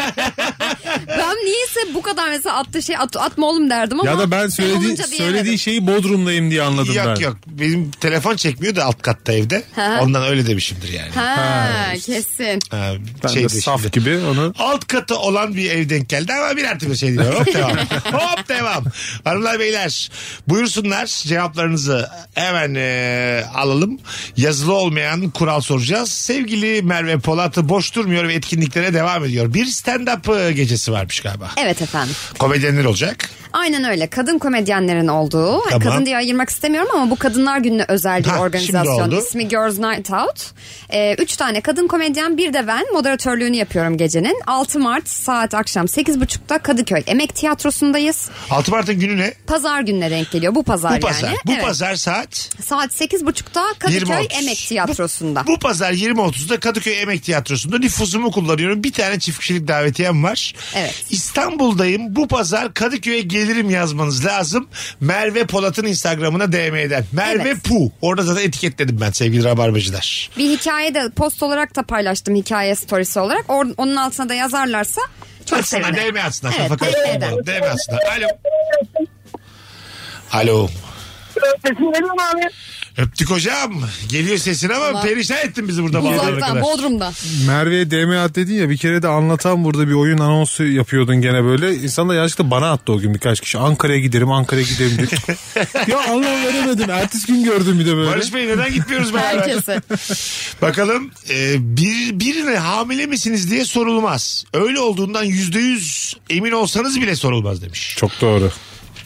şey- Ben niyeyse bu kadar mesela attığı şey at, atma oğlum derdim ama. ya da ben söylediği, olunca diyemedim. söylediği şey- şeyi bodrumdayım diye anladım yok ben. yok benim telefon çekmiyor da alt katta evde. Ha. Ondan öyle demişimdir yani. Ha, kesin. Ha, Ben şey de de saf şimdi. gibi onu Alt katı olan bir ev denk geldi ama bir artık bir şey değil. Hop devam. Hop devam. Hanımlar beyler buyursunlar cevaplarınızı hemen e, alalım. Yazılı olmayan kural soracağız. Sevgili Merve Polat'ı boş durmuyor ve etkinliklere devam ediyor. Bir stand-up e, gecesi varmış galiba. Evet Evet efendim. Komedyenler olacak. Aynen öyle. Kadın komedyenlerin olduğu. Hani Tamam. Kadın diye ayırmak istemiyorum ama bu Kadınlar Günü'ne özel bir Ha, organizasyon. şimdi oldu. İsmi Girls Night Out. Ee, üç tane kadın komedyen bir de ben moderatörlüğünü yapıyorum gecenin. 6 Mart saat akşam 8.30'da Kadıköy Emek Tiyatrosu'ndayız. 6 Mart'ın günü ne? Pazar gününe denk geliyor. Bu pazar, Bu pazar. yani. Bu Evet. pazar saat Saat 8.30'da Kadıköy 20.30. Emek Tiyatrosu'nda. Bu pazar 20.30'da Kadıköy Emek Tiyatrosu'nda nüfusumu kullanıyorum. Bir tane çift kişilik davetiyem var. Evet. İstanbul'dayım. Bu pazar Kadıköy'e gelirim yazmanız lazım. Merve Polat'ın Instagram'ına DM'den. Merve Evet. Pu. Orada zaten etiketledim ben sevgili rabarbacılar. Bir hikaye de post olarak da paylaştım hikaye storiesi olarak. Or- onun altına da yazarlarsa çok Atsınlar sevinirim. DM atsınlar. Evet, Kafa karıştırma. DM'den. DM atsınlar. Alo. Alo. Öptük hocam. Geliyor sesin ama Vallahi- perişan ettin bizi burada. bağlanana Uzaktan, kadar. Bodrum'da. Merve'ye DM at dedin ya bir kere de anlatan burada bir oyun anonsu yapıyordun gene böyle. İnsan da yanlışlıkla bana attı o gün birkaç kişi. Ankara'ya giderim Ankara'ya giderim diye. ya anlam veremedim. Ertesi gün gördüm bir de böyle. Barış Bey neden gitmiyoruz beraber? Herkese. Bakalım e, bir, birine hamile misiniz diye sorulmaz. Öyle olduğundan yüzde yüz emin olsanız bile sorulmaz demiş. Çok doğru.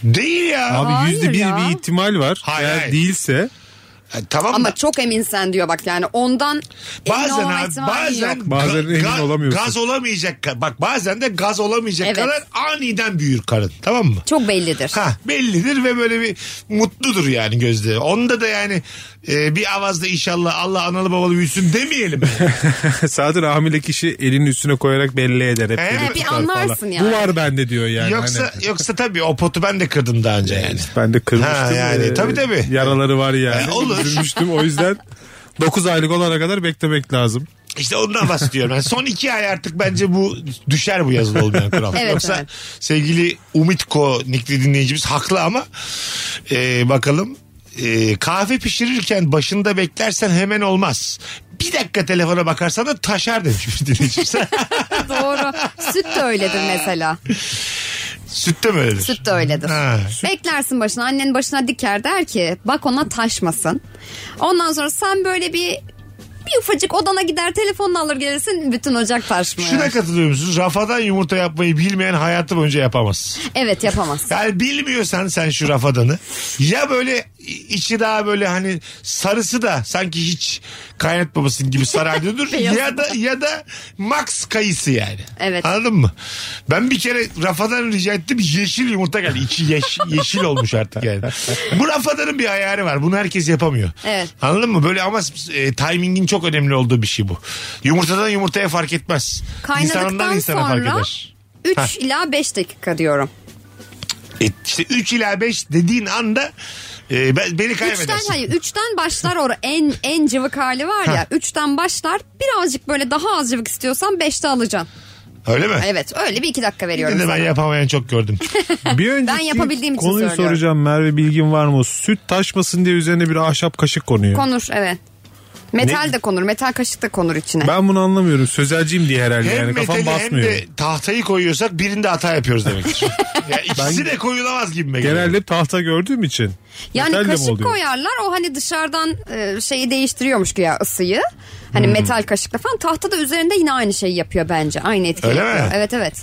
Değil ya. Abi Hayır yüzde bir ya. bir ihtimal var. Hayır, Eğer hayır. değilse Ha, tamam Ama da çok eminsen diyor bak yani ondan emin bazen olma abi, ihtimali bazen, yok. ga- Bazen emin ga- olamıyorsun. Gaz olamayacak ka- bak bazen de gaz olamayacak Evet. kadar aniden büyür karın tamam mı? Çok bellidir. Ha bellidir ve böyle bir mutludur yani gözde. Onda da yani e, bir avazda inşallah Allah analı babalı büyüsün demeyelim. Sadır hamile kişi elinin üstüne koyarak belli eder. Hep He? böyle He, bir tutar anlarsın falan. yani. Bu var bende diyor yani. yoksa Hani- yoksa tabii o potu ben de kırdım daha önce yani. Ben de kırmıştım. e, Ha, yani, tabii, tabii. Yaraları var yani. E, olur. Üzülmüştüm o yüzden 9 aylık olana kadar beklemek lazım. İşte ondan bahsediyorum. Yani son iki ay artık bence bu düşer bu yazılı olmayan kural. Evet, Yoksa evet. sevgili Umitko nikli dinleyicimiz haklı ama e, bakalım. E, kahve pişirirken başında beklersen hemen olmaz. Bir dakika telefona bakarsan da taşar demiş bir dinleyicimiz. Doğru. Süt de öyledir mesela. Sütte mi öyledir? Süt de öyledir. Ha. Beklersin başına annen başına diker der ki bak ona taşmasın. Ondan sonra sen böyle bir bir ufacık odana gider telefonunu alır gelirsin bütün ocak taşmıyor. Şuna katılıyor musunuz? Rafadan yumurta yapmayı bilmeyen hayatı boyunca yapamaz. Evet yapamaz. Yani bilmiyorsan sen şu rafadanı ya böyle içi daha böyle hani sarısı da sanki hiç kaynatmamasın gibi sarardıyordur Beyazı ya da ya da max kayısı yani. Evet. Anladın mı? Ben bir kere rafadan rica ettim yeşil yumurta geldi. İçi yeş- yeşil olmuş artık yani. Bu rafadanın bir ayarı var. Bunu herkes yapamıyor. Evet. Anladın mı? Böyle ama e, timingin çok önemli olduğu bir şey bu. Yumurtadan yumurtaya fark etmez. İnsandan Kaynadıktan insana fark sonra eder. 3 ila 5 dakika diyorum. E, işte 3 ila 5 dediğin anda e, ben, beni Üçten kaybedersin. hayır üçten başlar or en en cıvık hali var ya. Üçten başlar birazcık böyle daha az cıvık istiyorsan beşte alacaksın. Öyle mi? Evet öyle bir iki dakika veriyorum. Yine de sana. ben yapamayan çok gördüm. Bir önceki yapabildiğim için konuyu söylüyorum. soracağım Merve bilgin var mı? Süt taşmasın diye üzerine bir ahşap kaşık konuyor. Konur evet. Metal de konur metal kaşık da konur içine. ben bunu anlamıyorum. Sözelciyim diye herhalde hem yani kafam metali hem basmıyor. de tahtayı koyuyorsak birinde hata yapıyoruz demektir. ya ikisi de koyulamaz gibi mi? Genelde hep tahta gördüğüm için. Yani Metal de mi kaşık oluyor? koyarlar o hani dışarıdan e, şeyi değiştiriyormuş ki ya ısıyı. Hmm. Hani metal kaşıkla falan tahta da üzerinde yine aynı şeyi yapıyor bence. Aynı etkiyi Öyle yapıyor. mi? Evet evet.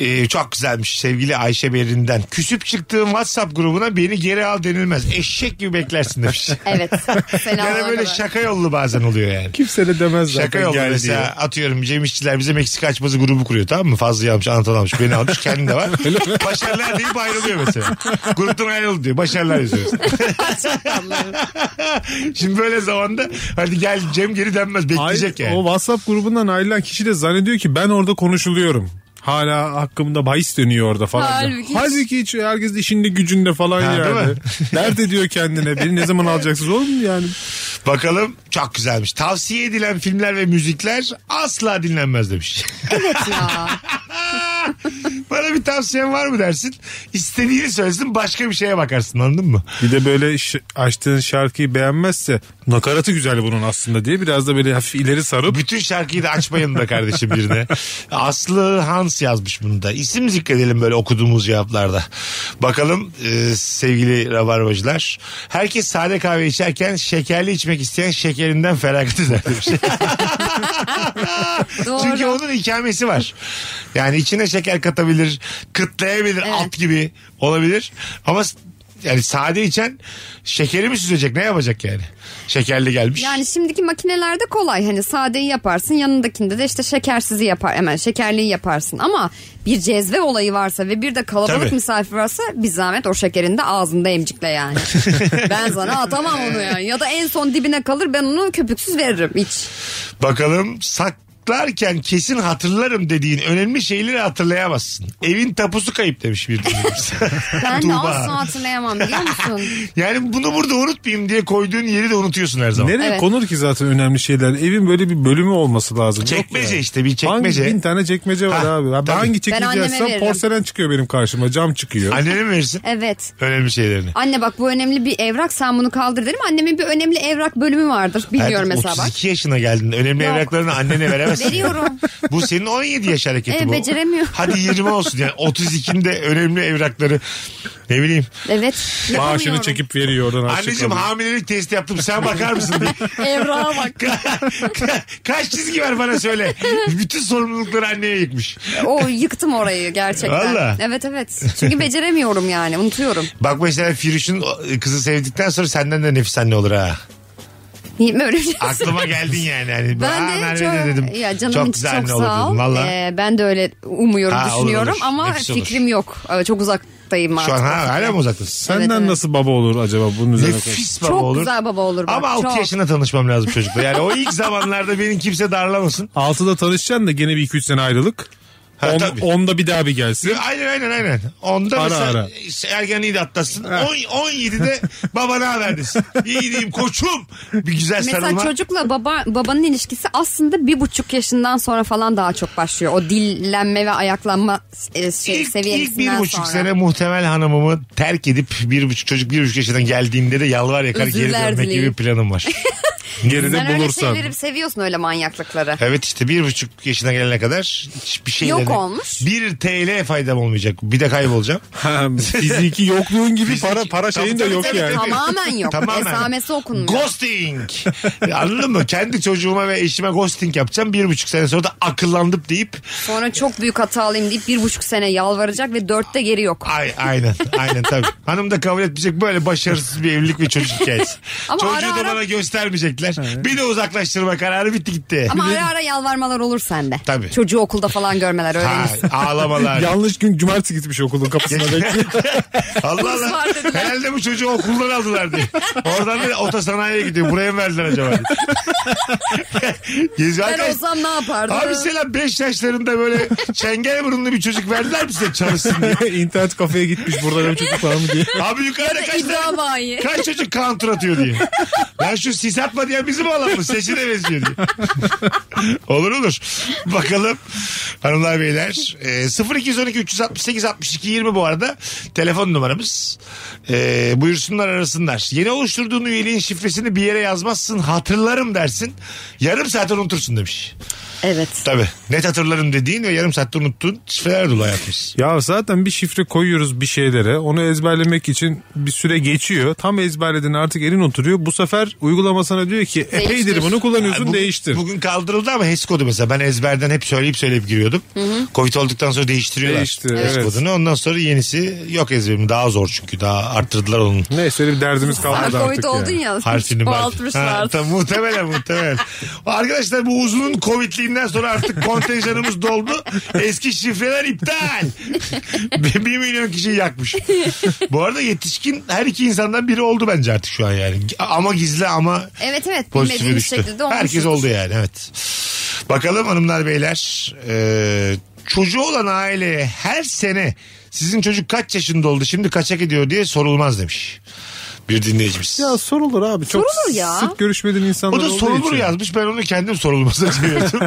Ee, çok güzelmiş sevgili Ayşe Berin'den. Küsüp çıktığım WhatsApp grubuna beni geri al denilmez. Eşek gibi beklersin demiş. Evet. Fena Yani olana böyle kadar. şaka yollu bazen oluyor yani. Kimse de demez zaten Şaka yollu gel mesela diye. atıyorum Cem İşçiler bize Meksika açması grubu kuruyor tamam mı? Fazla almış, Anadolu almış, beni almış, kendim de var. Başarılar deyip ayrılıyor mesela. Gruptan ayrıldı diyor. Başarılar yazıyor. Şimdi böyle zamanda hadi gel Cem geri denmez bekleyecek Ay- yani. O WhatsApp grubundan ayrılan kişi de zannediyor ki ben orada konuşuluyorum. Hala hakkımda bahis dönüyor orada falan. Halbuki hiç- Halbuki, hiç herkes işinde gücünde falan Ha, değil mi? yani. Nerede diyor kendine beni ne zaman alacaksınız oğlum yani. Bakalım çok güzelmiş. Tavsiye edilen filmler ve müzikler asla dinlenmez demiş. Ya. Bana bir tavsiyen var mı dersin? İstediğini söylesin başka bir şeye bakarsın anladın mı? Bir de böyle ş- açtığın şarkıyı beğenmezse nakaratı güzel bunun aslında diye biraz da böyle hafif ileri sarıp Bütün şarkıyı da açmayın da kardeşim birine. Aslı Hans yazmış bunu da. İsim zikredelim böyle okuduğumuz cevaplarda. Bakalım e, sevgili rabarbacılar. Herkes sade kahve içerken şekerli içmek isteyen şekerinden feragat eder demiş. Doğru. Çünkü onun ikamesi var. Yani içine şeker katabilir, Kıtlayabilir Evet. at gibi olabilir. Ama s- yani sade içen şekeri mi süzecek ne yapacak yani? Şekerli gelmiş. Yani şimdiki makinelerde kolay hani sadeyi yaparsın yanındakinde de işte şekersizi yapar hemen şekerliyi yaparsın ama bir cezve olayı varsa ve bir de kalabalık Tabii. misafir varsa bir zahmet o şekerin de ağzında emcikle yani. ben sana atamam onu yani ya da en son dibine kalır ben onu köpüksüz veririm iç. Bakalım saklarken kesin hatırlarım dediğin önemli şeyleri hatırlayamazsın. Evin tapusu kayıp demiş bir dinleyicimiz. Ben de Tuğba. asla hatırlayamam biliyor musun? Yani bunu burada unutmayayım diye koyduğun yeri de unutuyorsun her zaman. Nereye Evet. konur ki zaten önemli şeyler? Evin böyle bir bölümü olması lazım. Yok Çekmece yani. işte, bir çekmece. Hangi bin tane çekmece var Ha, abi. Ben tabii. hangi anneme çekmeceyse veririm. porselen çıkıyor benim karşıma. Cam çıkıyor. Annene mi verirsin? Evet. Önemli şeylerini. Anne bak bu önemli bir evrak sen bunu kaldır derim. Annemin bir önemli evrak bölümü vardır. Bilmiyorum Hayatım, mesela bak. 32 yaşına geldin. Önemli Yok. evraklarını annene veremezsin. Veriyorum. Bu senin 17 yaş hareketi E, bu. beceremiyorum. Hadi 20 olsun yani 32'nde önemli evrakları ne bileyim. Evet. Maaşını yapamıyorum. çekip veriyor oradan harçlık Anneciğim alıyor. hamilelik testi yaptım sen bakar mısın diye. Evrağa bak. Ka- Kaç çizgi var bana söyle. Bütün sorumlulukları anneye yıkmış. O yıktım orayı gerçekten. Valla. Evet evet. Çünkü beceremiyorum yani unutuyorum. Bak mesela Firuş'un kızı sevdikten sonra senden de nefis anne olur ha. Niye böyle bir şey? Aklıma geldin yani. Hani, Ben "Aa, de Merve çok, de Ah, dedim. ya canım çok çok, güzel çok anne olur sağ ol. dedim. Valla. Ee, ben de öyle umuyorum, Ha, olur, düşünüyorum olur. ama Nefis olur. fikrim yok. Ee, Çok uzaktayım artık. Şu an o ha, hala fikre. mı uzaktasın? Senden Evet, evet. nasıl baba olur acaba bunun üzerine? konuş- Nefis baba Çok olur. güzel baba olur bak. Ama 6 çok. yaşında tanışmam lazım çocukla. Yani o ilk zamanlarda beni kimse darlamasın. Altıda tanışacaksın da gene bir iki üç sene ayrılık. Ha, On- tabii. onda bir daha bir gelsin. Aynen aynen aynen. Onda Ara mesela ara. ergenliği de atlatsın. On- 17'de babana haber desin. İyiyim koçum. Bir güzel sarılma. Mesela çocukla baba babanın ilişkisi aslında bir buçuk yaşından sonra falan daha çok başlıyor. O dillenme ve ayaklanma e, şey, İlk, ilk seviyesinden bir buçuk sonra. sene muhtemel hanımımı terk edip bir buçuk çocuk bir buçuk yaşından geldiğinde de yalvar yakar geri Özürler dönmek gibi dileyim. bir planım var. Geride Sen öyle bulursan. şeyleri seviyorsun öyle manyaklıkları. evet işte bir buçuk yaşına gelene kadar hiçbir şey Yok olmuş. Bir TL faydam olmayacak. Bir de kaybolacağım. Ha, Fiziki yokluğun gibi Fiziki- para para Tabii, şeyin de tabii, yok tabii, yani. tabii. Tamamen yok. Esamesi okunmuyor. Ghosting. Anladın mı? Kendi çocuğuma ve eşime ghosting yapacağım. Bir buçuk sene sonra da akıllandıp deyip Sonra çok büyük hatalıyım deyip bir buçuk sene yalvaracak ve dörtte geri yok. ay, aynen aynen tabii. Hanım da kabul etmeyecek böyle başarısız bir evlilik ve çocuk hikayesi. Ama Çocuğu ara da ara- bana göstermeyecekler. Bir de uzaklaştırma kararı bitti gitti. Ama ara ara yalvarmalar olur sende. Tabii. Çocuğu okulda falan görmeler Ha, öğrenirsin. ağlamalar. Yanlış gün cumartesi gitmiş okulun kapısına bekliyor. Allah Kurs Allah. var dediler. Herhalde bu çocuğu okuldan aldılar diye. Oradan da otosanayiye gidiyor. Buraya mı verdiler acaba? diye. Geziyor Ben arkadaş. olsam ne yapardım? Abi selam 5 yaşlarında böyle çengel burunlu bir çocuk verdiler mi size çalışsın diye. İnternet kafeye gitmiş burada benim çocuk var mı diye. Abi yukarıda kaç İddia tane... bayi. Kaç çocuk counter atıyor diye. Lan şu sis atma diyen bizim oğlan mı? Sesi de benziyor diye. olur olur. Bakalım hanımlar beyler. E, 0212 368 62 20 bu arada telefon numaramız. E, buyursunlar arasınlar. Yeni oluşturduğun üyeliğin şifresini bir yere yazmazsın hatırlarım dersin. Yarım saat unutursun demiş. Evet. Tabii net hatırlarım dediğin ve yarım saatte unuttuğun şifreler dolu hayatımız. Ya zaten bir şifre koyuyoruz bir şeylere. Onu ezberlemek için bir süre geçiyor. Tam ezberledin artık elin oturuyor. Bu sefer uygulama sana diyor ki epeydir Değiştir. bunu kullanıyorsun Bugün- değiştir. Bugün kaldırıldı ama HES kodu mesela ben ezberden hep söyleyip söyleyip giriyordum. Covid olduktan sonra değiştiriyorlar. Değişti, HES evet. kodunu ondan sonra yenisi yok ezberim daha zor çünkü daha arttırdılar onun. Neyse öyle bir derdimiz kalmadı Sana artık Covid oldun ya. ya. Harfini Çoğaltmışlar. Ha, tam, muhtemelen muhtemelen. Arkadaşlar bu uzunun Covid'liğinden sonra artık kontenjanımız doldu. Eski şifreler iptal. Bir- bir milyon kişiyi yakmış. Bu arada yetişkin her iki insandan biri oldu bence artık şu an yani. Ama gizli ama Evet evet. pozitife Bilmediğimiz düştü. şekilde olmuş. Herkes oldu yani evet. Bakalım hanımlar beyler. Ee, çocuğu olan aileye her sene sizin çocuk kaç yaşında oldu şimdi kaça gidiyor diye sorulmaz demiş. Bir dinleyicimiz. Ya sorulur abi. Çok Sorulur ya. sık görüşmediğin insanlar o da olduğu sorulur için. yazmış. Ben onu kendim sorulmasa çevirdim.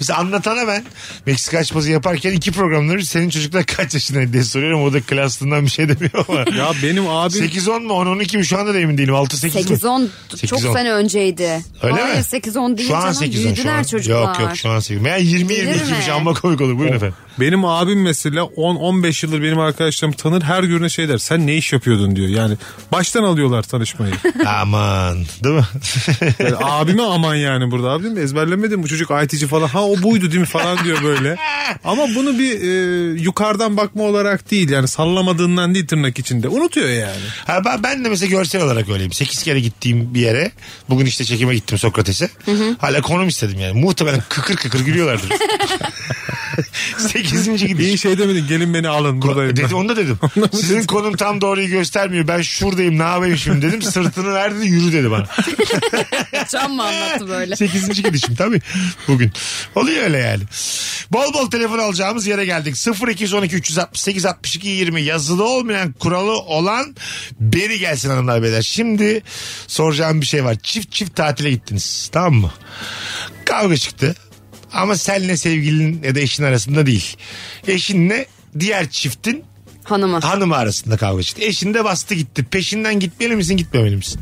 Mesela anlatana ben Meksika açması yaparken iki programları senin çocuklar kaç yaşında diye soruyorum. O da klaslığından bir şey demiyor ama. Ya benim abim 8-10 mu 10-12 mi şu anda da emin değilim. 6-8 mi? 8-10 çok 8-10. sene önceydi. Öyle Hayır, mi? 8-10 değil Şu an canım. 8 10 şu Büyüdüler an. çocuklar. Oh. Yok yok şu an 8. Meğer 20 Bilir 22 miş mi? amma komik olur. Buyurun efendim. Benim abim mesela 10-15 yıldır benim arkadaşlarım tanır her gün şey der. Sen ne iş yapıyordun diyor. Yani baş Beşiktaş'tan alıyorlar tanışmayı. Aman değil mi? Yani abime aman yani burada abim ezberlemedim bu çocuk IT'ci falan. Ha o buydu değil mi falan diyor böyle. Ama bunu bir e, yukarıdan bakma olarak değil yani sallamadığından değil tırnak içinde. Unutuyor yani. Ha, ben, ben de mesela görsel olarak öyleyim. 8 kere gittiğim bir yere bugün işte çekime gittim Sokrates'e. Hala konum istedim yani. Muhtemelen kıkır kıkır gülüyorlardır. 8. gidiş. İyi şey demedin gelin beni alın buradayım. Dedi, onu da dedim. Sizin konum tam doğruyu göstermiyor. Ben şuradayım ne yapayım şimdi dedim. Sırtını verdi de yürü dedi bana. Can mı anlattı böyle? 8. gidişim tabii bugün. Oluyor öyle yani. Bol bol telefon alacağımız yere geldik. 0212 368 62 20 yazılı olmayan kuralı olan beri gelsin hanımlar beyler. Şimdi soracağım bir şey var. Çift çift tatile gittiniz tamam mı? Kavga çıktı. Ama senle sevgilin ya da eşin arasında değil. Eşinle diğer çiftin Hanıma. hanımı arasında kavga çıktı. Eşin de bastı gitti. Peşinden gitmeli misin gitmemeli misin?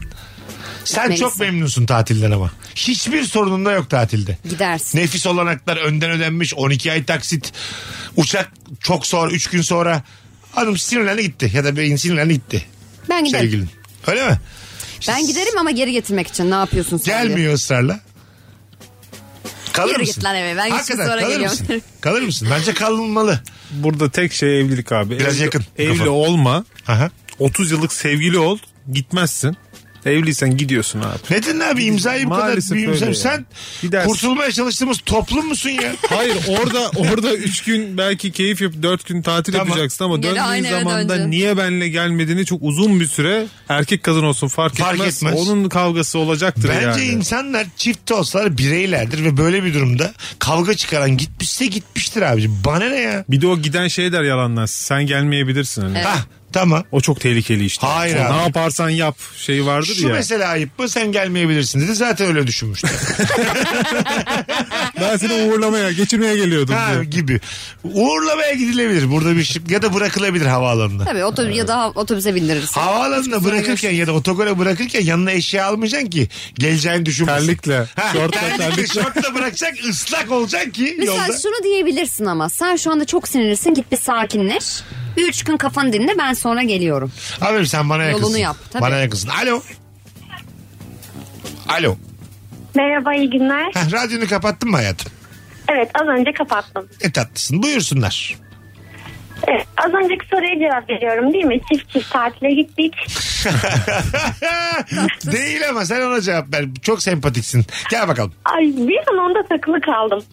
Sen Gitmelisin. çok memnunsun tatilden ama. Hiçbir sorunun da yok tatilde. Gidersin. Nefis olanaklar önden ödenmiş 12 ay taksit. Uçak çok sonra 3 gün sonra hanım sinirlendi gitti ya da beyin sinirlendi gitti. Ben giderim. Sevgilin. Öyle mi? Ben giderim ama geri getirmek için ne yapıyorsun sen diye. Gelmiyor ısrarla. Kalır Yürü mısın? git lan eve. Ben Hakikaten şimdi sonra kalır geliyorum. Mısın? Kalır mısın? Bence kalınmalı. Burada tek şey evlilik abi. Biraz Evli- yakın. Evli Kafa. olma. Aha. 30 yıllık sevgili ol gitmezsin. Evliysen gidiyorsun abi. Neden abi imzayı bu kadar Maalesef öyle büyümsem ya. sen Gidersin. kurtulmaya çalıştığımız toplum musun ya? Hayır orada orada 3 gün belki keyif yapıp 4 gün tatil Tamam. yapacaksın ama Geri aynı döndüğün eve zaman da döneceksin. niye benle gelmediğini çok uzun bir süre erkek kadın olsun fark, Fark etmez. etmez. Onun kavgası olacaktır Bence yani. insanlar çift olsalar bireylerdir ve böyle bir durumda kavga çıkaran gitmişse gitmiştir abici. Bana ne ya? Bir de o giden şey der yalanlar. Sen gelmeyebilirsin. hani. Hah tamam. O çok tehlikeli işte. Hayır O abi. Ne yaparsan yap şeyi vardır Şu ya. mesele ayıp mı sen gelmeyebilirsin dedi. Zaten öyle düşünmüştüm. Ben seni uğurlamaya, geçirmeye geliyordum. ha, diyor. gibi. Uğurlamaya gidilebilir. Burada bir şık ya da bırakılabilir havaalanında. Tabii otobüs ya da otobüse bindirirsin. Havaalanına bırakırken ya da otogola bırakırken yanına eşya almayacaksın ki geleceğini düşünmesin. Terlikle, Ha, şortla, terlikle, terlikle. şortla bırakacak ıslak olacak ki Mesela yolda. şunu diyebilirsin ama sen şu anda çok sinirlisin git bir sakinleş. Bir üç gün kafanı dinle ben sonra geliyorum. Abi sen bana yakınsın. Yolunu yap, tabii. Bana yakınsın. Alo. Alo. Merhaba iyi günler. Heh, radyonu kapattın mı hayatım? Evet az önce kapattım. E tatlısın. Buyursunlar. Evet, az önceki soruya cevap veriyorum değil mi? Çift çift tatile gittik. Değil ama sen ona cevap ver. Çok sempatiksin. Gel bakalım. Ay bir an onda takılı kaldım.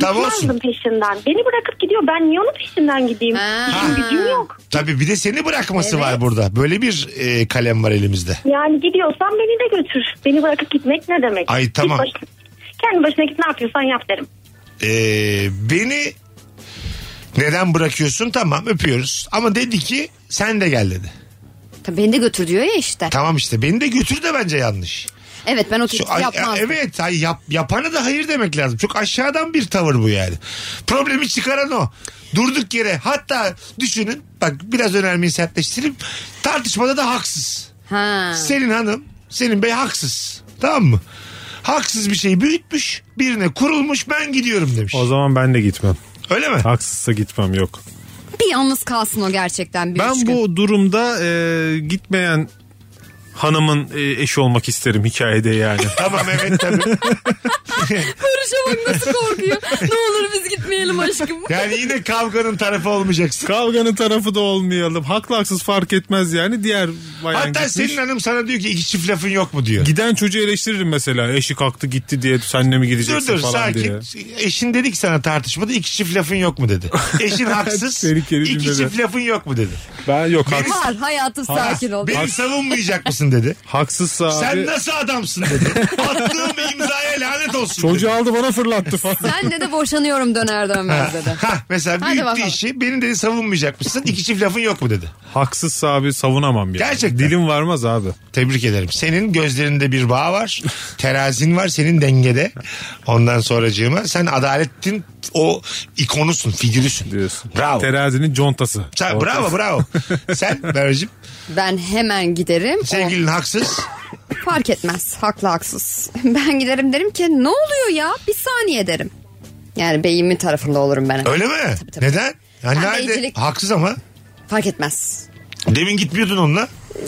Tamam Gitmezdim olsun. peşinden. Beni bırakıp gidiyor. Ben niye onun peşinden gideyim? Ha. İşim gücüm yok. Tabii bir de seni bırakması var burada. Böyle bir e, kalem var elimizde. Yani gidiyorsan beni de götür. Beni bırakıp gitmek ne demek? Ay, Git tamam. başına- kendi başına git ne yapıyorsan yap derim. E, beni neden bırakıyorsun? Tamam öpüyoruz. Ama dedi ki sen de gel dedi. Tabii beni de götür diyor ya işte. Tamam işte beni de götür de bence yanlış. Evet ben o Şu- tür ay- e, yapmam. evet ay, yap, yapana da hayır demek lazım. Çok aşağıdan bir tavır bu yani. Problemi çıkaran o. Durduk yere hatta düşünün bak biraz önermeyi sertleştireyim. Tartışmada da haksız. Ha. Senin hanım, senin bey haksız. Tamam mı? Haksız bir şeyi büyütmüş, birine kurulmuş ben gidiyorum demiş. O zaman ben de gitmem. Öyle mi? Haksızsa gitmem yok. Bir yalnız kalsın o gerçekten bir üç Ben gün. bu durumda e, gitmeyen hanımın e, eşi olmak isterim hikayede yani. Tamam evet tabii. Barış'a bak nasıl korkuyor. ne olur biz gitmeyelim aşkım. Yani yine kavganın tarafı olmayacaksın. Kavganın tarafı da olmayalım. Haklı haksız fark etmez yani. Diğer bayan Hatta gitmiş. senin hanım sana diyor ki iki çift lafın yok mu diyor. Giden çocuğu eleştiririm mesela. Eşi kalktı gitti diye senle mi Dur gideceksin dur falan sakin. diye. Eşin dedi ki sana tartışmada iki çift lafın yok mu dedi. Eşin haksız. Tehlikeli iki cümle. çift lafın yok mu dedi. Ben yok haks- Var hayatım sakin ol. Beni savunmayacak mısın dedi. haksızsa abi. Sen nasıl adamsın dedi. Attığım imzaya lanet olsun dedi. Çocuğu aldı bana fırlattı falan. Sen de de boşanıyorum döner dönmez dedi. Ha mesela Hadi büyüttü bakalım. işi. Beni dedi savunmayacak mısın? İki çift lafın yok mu dedi. Haksızsa abi savunamam yani. Gerçekten. Dilim varmaz abi. Tebrik ederim. Senin gözlerinde bir bağ var. Terazin var senin dengede. Ondan sonracığıma sen adaletin o ikonusun, figürüsün. Diyorsun. Bravo. Terazinin contası. Sen, Ortası. bravo bravo. Sen Merveciğim Ben hemen giderim. sevgilin haksız. O fark etmez. Haklı haksız. Ben giderim derim ki ne oluyor ya? Bir saniye derim. Yani beyimin tarafında olurum ben. Öyle mi? tabii. Neden? Yani Ben nerede? beycilik- Haksız ama. Fark etmez. Demin gitmiyordun onunla. Ee,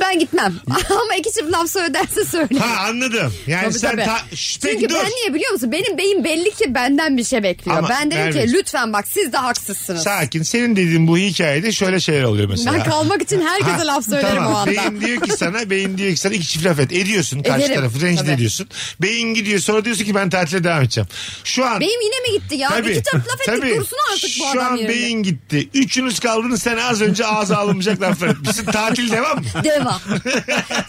Ben gitmem. Ama iki çift laf söylerse söyle. Ha anladım. Yani Tabii, sen tabii. ta- Şş, peki Çünkü dur. ben niye biliyor musun? Benim beyin belli ki benden bir şey bekliyor. Ama ben dedim vermiyorsun. ki lütfen bak siz de haksızsınız. Sakin. Senin dediğin bu hikayede şöyle şeyler oluyor mesela. Ben kalmak için herkese Ha, laf söylerim tamam. o anda. Beyin diyor ki sana, beyin diyor ki sana iki çift laf et. Ediyorsun karşı Ederim, tarafı rencide tabii. ediyorsun. Beyin gidiyor sonra diyorsun ki ben tatile devam edeceğim. Şu an Benim yine mi gitti ya? Tabii. İki çift laf ettik Tabii. dursun artık bu Şu adam an yerine. beyin gitti. Üçünüz kaldınız sen az önce ağza alınmayacak laflar etmişsin. Tatil devam mı? Devam.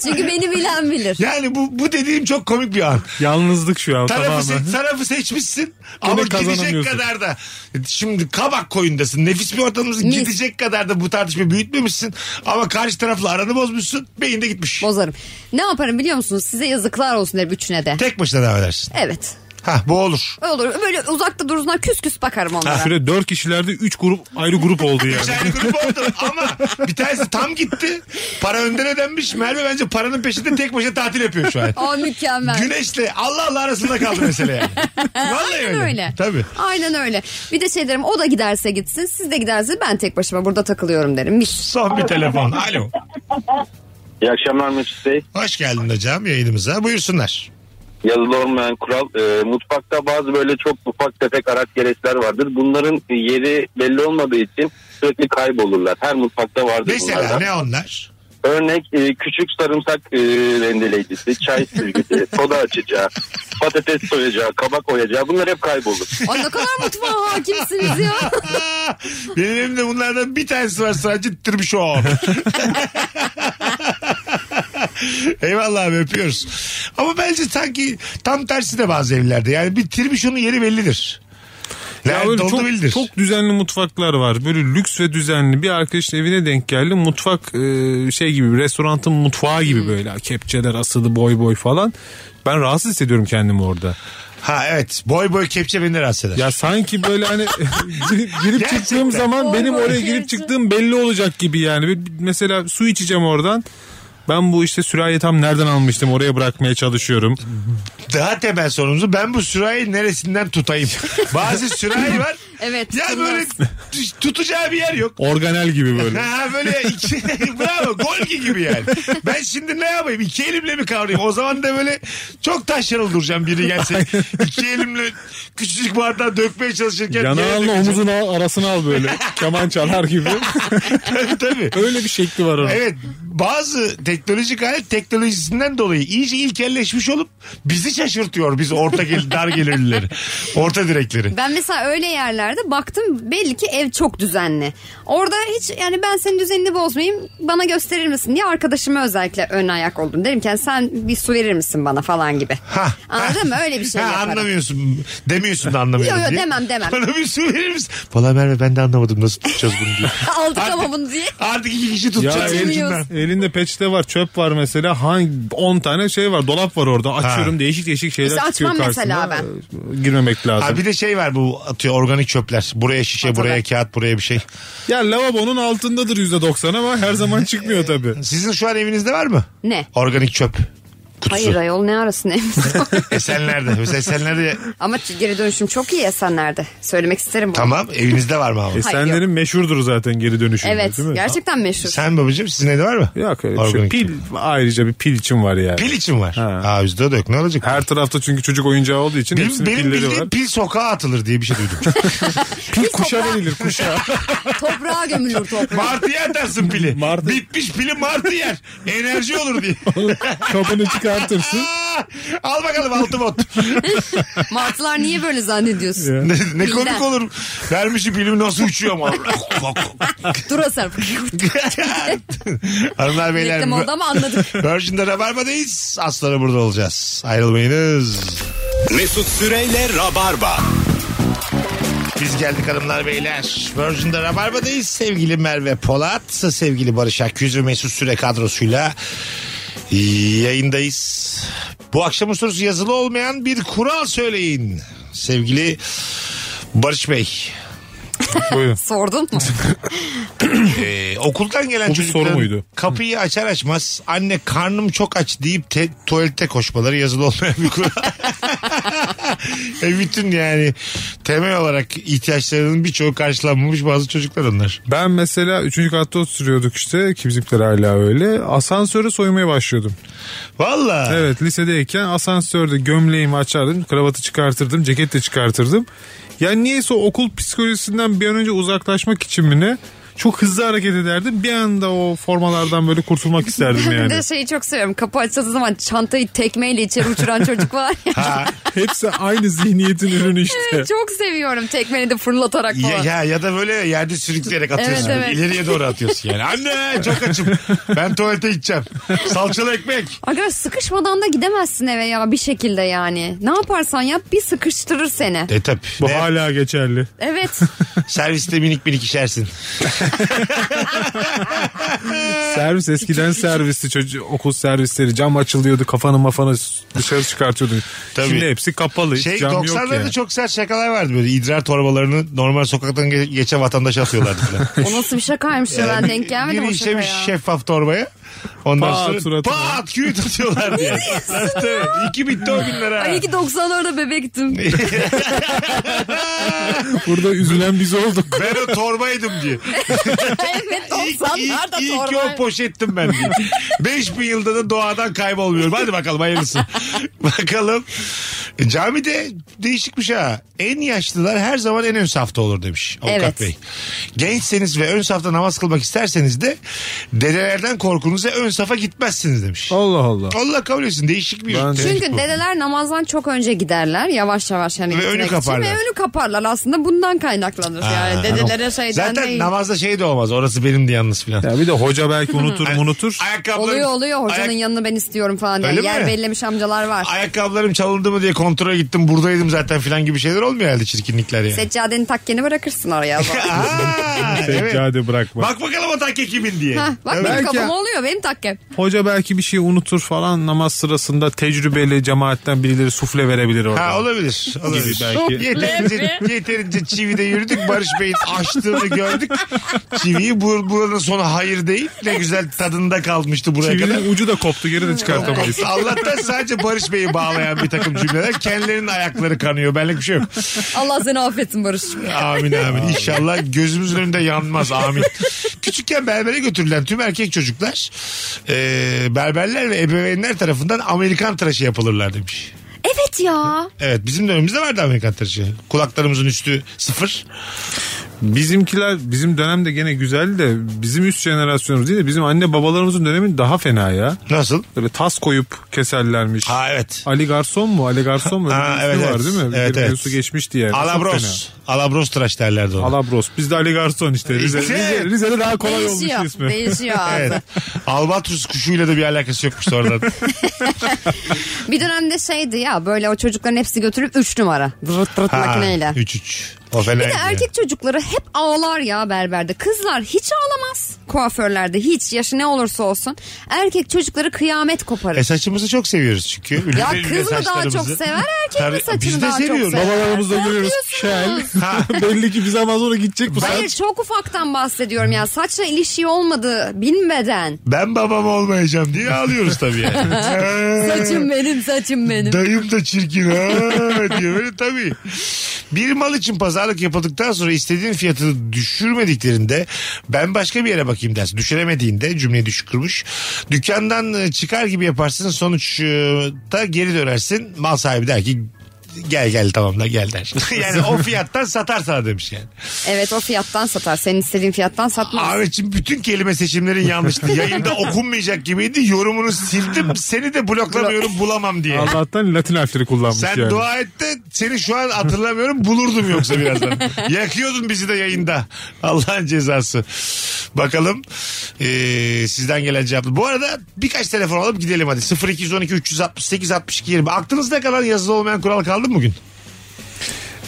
Çünkü beni bilen bilir. Yani bu, bu dediğim çok komik bir an. Yalnızlık şu an Tarafı, tamamen. se- tarafı seçmişsin ama gidecek kazanamıyorsun. kadar da şimdi kabak koyundasın nefis bir ortamımız Mis. gidecek kadar da bu tartışmayı büyütmemişsin ama karşı tarafla aranı bozmuşsun beyin de gitmiş. Bozarım. Ne yaparım biliyor musunuz? Size yazıklar olsun derim üçüne de. Tek başına devam edersin. Evet. Ha bu olur. Olur. Böyle uzakta durursunlar küs küs bakarım onlara. Şöyle dört kişilerde üç grup ayrı grup oldu yani. Şahane grup oldu ama bir tanesi tam gitti. Para önden ödenmiş. Merve bence paranın peşinde tek başına tatil yapıyor şu an. Aa mükemmel. Güneşle Allah Allah arasında kaldı mesele yani. Vallahi Aynen öyle. öyle. Tabii. Aynen öyle. Bir de şey derim o da giderse gitsin siz de gidersiniz ben tek başıma burada takılıyorum derim. Mis. Son bir telefon. Alo. İyi akşamlar Mesut Bey. Hoş geldin hocam yayınımıza. Buyursunlar. Yazılı olmayan kural. e, mutfakta bazı böyle çok ufak tefek araç gereçler vardır. Bunların yeri belli olmadığı için sürekli kaybolurlar. Her mutfakta vardır Mesela bunlardan. ne onlar? Örnek e, küçük sarımsak e, rendeleyicisi, çay sürgüsü, soda açacağı, patates soyacağı, kabak oyacağı bunlar hep kaybolur. Ay ne kadar mutfağa hakimsiniz ya. Benim elimde bunlardan bir tanesi var sadece tırmışom. Eyvallah abi öpüyoruz. Ama bence sanki tam tersi de bazı evlerde. Yani bir tirbişonun yeri bellidir. Ya Yani böyle doldu çok, bildir. çok düzenli mutfaklar var. Böyle lüks ve düzenli. Bir arkadaşın evine denk geldi. Mutfak e, şey gibi restorantın mutfağı Hmm. gibi böyle. Kepçeler asılı boy boy falan. Ben rahatsız hissediyorum kendimi orada. Ha evet boy boy kepçe beni de rahatsız eder. Ya sanki böyle hani girip girip Gerçekten. çıktığım zaman Boy benim boy oraya girip kepçe. çıktığım belli olacak gibi yani. Bir- bir- Mesela su içeceğim oradan. Ben bu işte sürahi tam nereden almıştım oraya bırakmaya çalışıyorum. Daha temel sorumuzu ben bu sürahi neresinden tutayım? Bazı sürahi var. Evet, Ya tutulmaz. böyle t- tutacağı bir yer yok. Organel gibi böyle. Ha böyle iki, bravo golgi gibi yani. Ben şimdi ne yapayım? İki elimle mi kavrayayım? O zaman da böyle çok taşralı duracağım biri gelse. İki elimle küçücük bardağı dökmeye çalışırken. yere Yanağınla dökeceğim. omuzun al- arasını al böyle. Keman çalar gibi. Tabii tabii. Öyle bir şekli var onun. Evet bazı teknolojik alet teknolojisinden dolayı iyice ilkelleşmiş olup bizi şaşırtıyor biz orta gel dar gelirlileri. Orta direkleri. Ben mesela öyle yerlerde baktım belli ki ev çok düzenli. Orada hiç yani ben senin düzenini bozmayayım bana gösterir misin diye arkadaşıma özellikle ön ayak oldum. Derim ki yani sen bir su verir misin bana falan gibi. Ha. Anladın mı? Öyle bir şey ha, yaparım. anlamıyorsun. Demiyorsun da anlamıyorum Yo, yo, diye. demem, demem. Bana bir su verir misin? Valla Merve ben de anlamadım nasıl tutacağız bunu diye. Aldık Artık- ama bunu diye. Artık iki kişi tutacağız. Ya, elinden. Elinde peçete var, çöp var mesela. Hangi 10 tane şey var, dolap var orada. Açıyorum değişik değişik şeyler Mesela çıkıyor açmam karşısına. mesela Ee, Girmemek lazım. Ha bir de şey var bu atıyor organik çöpler. Buraya şişe, Atılır. buraya kağıt, buraya bir şey. Ya lavabonun altındadır %90 ama her zaman çıkmıyor tabii. Sizin şu an evinizde var mı? Ne? Organik çöp kutusu. Hayır ayol ne arasın evimiz var. Esenler'de. Mesela Esenler'de Ama geri dönüşüm çok iyi Esenler'de. Söylemek isterim bunu. tamam evinizde var mı ama? E, senlerin meşhurdur zaten geri dönüşümü Evet değil mi? gerçekten meşhur. Sen babacığım sizin evde var mı? Yok öyle bir şey. Organik Pil ayrıca bir pil için var yani. Pil için var. Aa yüzde dök ne olacak? Her tarafta çünkü çocuk oyuncağı olduğu için benim hepsinin benim pilleri bildiğim var. pil sokağa atılır diye bir şey duydum. Pil kuşa verilir kuşa. Toprağa gömülür toprağa. martıya atarsın pili. Martı. Bitmiş pili martı yer. Enerji olur diye. Kapını çıkartırsın. Aa, Al bakalım altı bot. Martılar niye böyle zannediyorsun? ne, ne Bilden. komik olur. Vermişim pilimi nasıl uçuyor ama. Dur Asar. Hanımlar beyler. Reklam oldu ama anladık. Virgin'de Rabarba'dayız. Az sonra burada olacağız. Ayrılmayınız. Mesut Süreyle Rabarba. Biz geldik hanımlar beyler. Virgin'de Rabarba'dayız. Sevgili Merve Polat, sevgili Barış Akyüz ve Mesut Süre kadrosuyla yayındayız. Bu akşamın sorusu yazılı olmayan bir kural söyleyin. Sevgili Barış Bey. Buyurun. Sordun mu? Ee, okuldan gelen Bu bir soru çocukların muydu? kapıyı açar açmaz anne karnım çok aç deyip te- tuvalete koşmaları yazılı olmayan bir kural. E bütün yani temel olarak ihtiyaçlarının birçoğu karşılanmamış bazı çocuklar onlar. Ben mesela 3. katta oturuyorduk işte ki bizimkiler hala öyle. Asansörü soymaya başlıyordum. Valla. Evet lisedeyken asansörde gömleğimi açardım, kravatı çıkartırdım, ceket de çıkartırdım. Yani niyeyse o okul psikolojisinden bir an önce uzaklaşmak için mi ne? Çok hızlı hareket ederdim. Bir anda o formalardan böyle kurtulmak isterdim Bir yani. de şeyi çok seviyorum. Kapı açıldığı zaman çantayı tekmeyle içeri uçuran çocuk var ya. Hepsi aynı zihniyetin ürünü işte. çok seviyorum tekmeyi de fırlatarak falan. Ya, ya, ya da böyle yerde sürükleyerek atıyorsun. Evet, evet. İleriye doğru atıyorsun yani. Anne çok açım. Ben tuvalete gideceğim. Salçalı ekmek. Arkadaş sıkışmadan da gidemezsin eve ya bir şekilde yani. Ne yaparsan yap bir sıkıştırır seni. E tabi. Bu hala geçerli. Evet. Serviste minik minik işersin. Servis eskiden servisti çocuğu okul servisleri cam açılıyordu kafanı mafanı dışarı çıkartıyordu. Tabii. Şimdi hepsi kapalı. hiç Şey cam yok 90'larda yani. çok sert şakalar vardı böyle idrar torbalarını normal sokaktan ge- geçen vatandaşa atıyorlardı falan. O nasıl bir şakaymış ya ben denk gelmedim o Biri şakaya. işlemiş şeffaf torbaya. Ondan Pat sonra suratına. pat küyüt atıyorlardı yani. Evet, evet. İki bitti o günler ha. Ay iyi ki 90'larda bebektim. Burada üzülen biz olduk. Ben o torbaydım diye. evet İlk, ilk, 90'larda ilk ki o torba. poşettim ben diye. 5000 yılda da doğadan kaybolmuyorum. Hadi bakalım hayırlısı. bakalım. E, Camide değişikmiş ha. En yaşlılar her zaman en ön safta olur demiş avukat Evet. bey. Gençseniz ve ön safta namaz kılmak isterseniz de dedelerden korkunuza ön safa gitmezsiniz demiş. Allah Allah. Allah kabul etsin değişik bir Ben- tespit Çünkü bu. dedeler namazdan çok önce giderler. Yavaş yavaş hani Ve gitmek önü için. kaparlar. Ve önü kaparlar aslında bundan kaynaklanır. yani dedelere şeyden Zaten değil. namazda şey de olmaz. Orası benim de yalnız filan. Ya bir de hoca belki unutur unutur. Ayakkabılarım, Oluyor oluyor hocanın ayak- yanını ben istiyorum falan diye. Öyle Yer mi? bellemiş amcalar var. ayakkabılarım çalındı mı diye kontrole gittim. Buradaydım zaten filan gibi şeyler olmuyor herhalde çirkinlikler yani. Seccadeni takkeni bırakırsın oraya. o zaman. Aa, evet. Seccade bırakma. Bak bakalım o takke kimin diye. Hah, Bak Evet. benim Belki- kafam oluyor benim takkem. Hoca belki bir şey unutur falan namaz sırasında tecrübeli cemaatten birileri sufle verebilir orada. Ha olabilir. olabilir. belki. Yeterince, yeterince çivide yürüdük. Barış Bey'in açtığını gördük. Çiviyi bur, buranın sonu hayır değil. Ne güzel tadında kalmıştı buraya kadar. Çivinin ucu da koptu geri de çıkartamayız. Allah'tan sadece Barış Bey'i bağlayan bir takım cümleler. Kendilerinin ayakları kanıyor. Benlik bir şey yok. Allah seni affetsin Barış'ım. Amin amin. İnşallah gözümüzün önünde yanmaz. Amin. Küçükken berbere götürülen tüm erkek çocuklar e, berberler ve ebeveynler tarafından Amerikan tıraşı yapılırlar demiş. Evet ya. Evet bizim dönemimizde vardı Amerikan tıraşı. Kulaklarımızın üstü sıfır. Bizimkiler bizim dönemde gene güzel de bizim üst jenerasyonumuz değil de bizim anne babalarımızın dönemi daha fena ya. Nasıl? Böyle tas koyup keserlermiş. Ha evet. Ali Garson mu? Ali Garson mu? Öyle Ha, bir ismi evet, var evet. değil mi? Bir Evet, evet, evet. geçmişti yani. Çok Alabros. Alabros tıraş derlerdi fena. ona. Alabros. Bizde Ali Garson işte. Rize, İşte. Rize, Rize'de daha kolay Değişiyor. olmuş ismi. Değişiyor ağzı. Evet. Albatros kuşuyla da bir alakası yokmuş sonradan. Bir dönemde şeydi ya böyle o çocukların hepsi götürüp 3 numara. Vırt vırt makineyle. 3-3. O fena. Bir de erkek çocukları hep ağlar ya berberde. Kızlar hiç ağlamaz kuaförlerde. Hiç yaşı ne olursa olsun. Erkek çocukları kıyamet koparır. E saçımızı çok seviyoruz çünkü. Ünlü ya ünlü kız mı daha çok saçlarımızı. sever erkek Tabii, mi biz saçını de daha çok sever? seviyoruz. Babalarımızda Ne görüyoruz. Şel. yapıyorsunuz? Belli ki bize ama sonra gidecek bu Hayır saat. çok ufaktan bahsediyorum ya. Saçla ilişiği olmadığı bilmeden. Ben babam olmayacağım diye ağlıyoruz tabii yani. Ee, Saçım benim saçım benim. Dayım da çirkin ha diye böyle tabii. Bir mal için pazarlık yapıldıktan sonra istediğin fiyatı düşürmediklerinde ben başka bir yere bakayım dersin. Düşüremediğinde cümleyi düşük kırmış. Dükkandan e, çıkar gibi yaparsın sonuçta geri dönersin. Mal sahibi der ki gel gel tamam da gel der. yani o fiyattan satar sana demiş yani. Evet o fiyattan satar. Senin istediğin fiyattan satmaz. Ahmetciğim bütün kelime seçimlerin yanlıştı. Yayında okunmayacak gibiydi. Yorumunu sildim. Seni de bloklamıyorum bulamam diye. Allah'tan Latin harfleri kullanmış E, Sen yani. dua et de seni şu an hatırlamıyorum bulurdum yoksa birazdan. Yakıyordun bizi de yayında. Allah'ın cezası. Bakalım ee, sizden gelen cevap. Bu arada birkaç telefon alıp gidelim hadi. 0212 368 62 20. Aklınızda kalan yazılı olmayan kural kaldı mı bugün?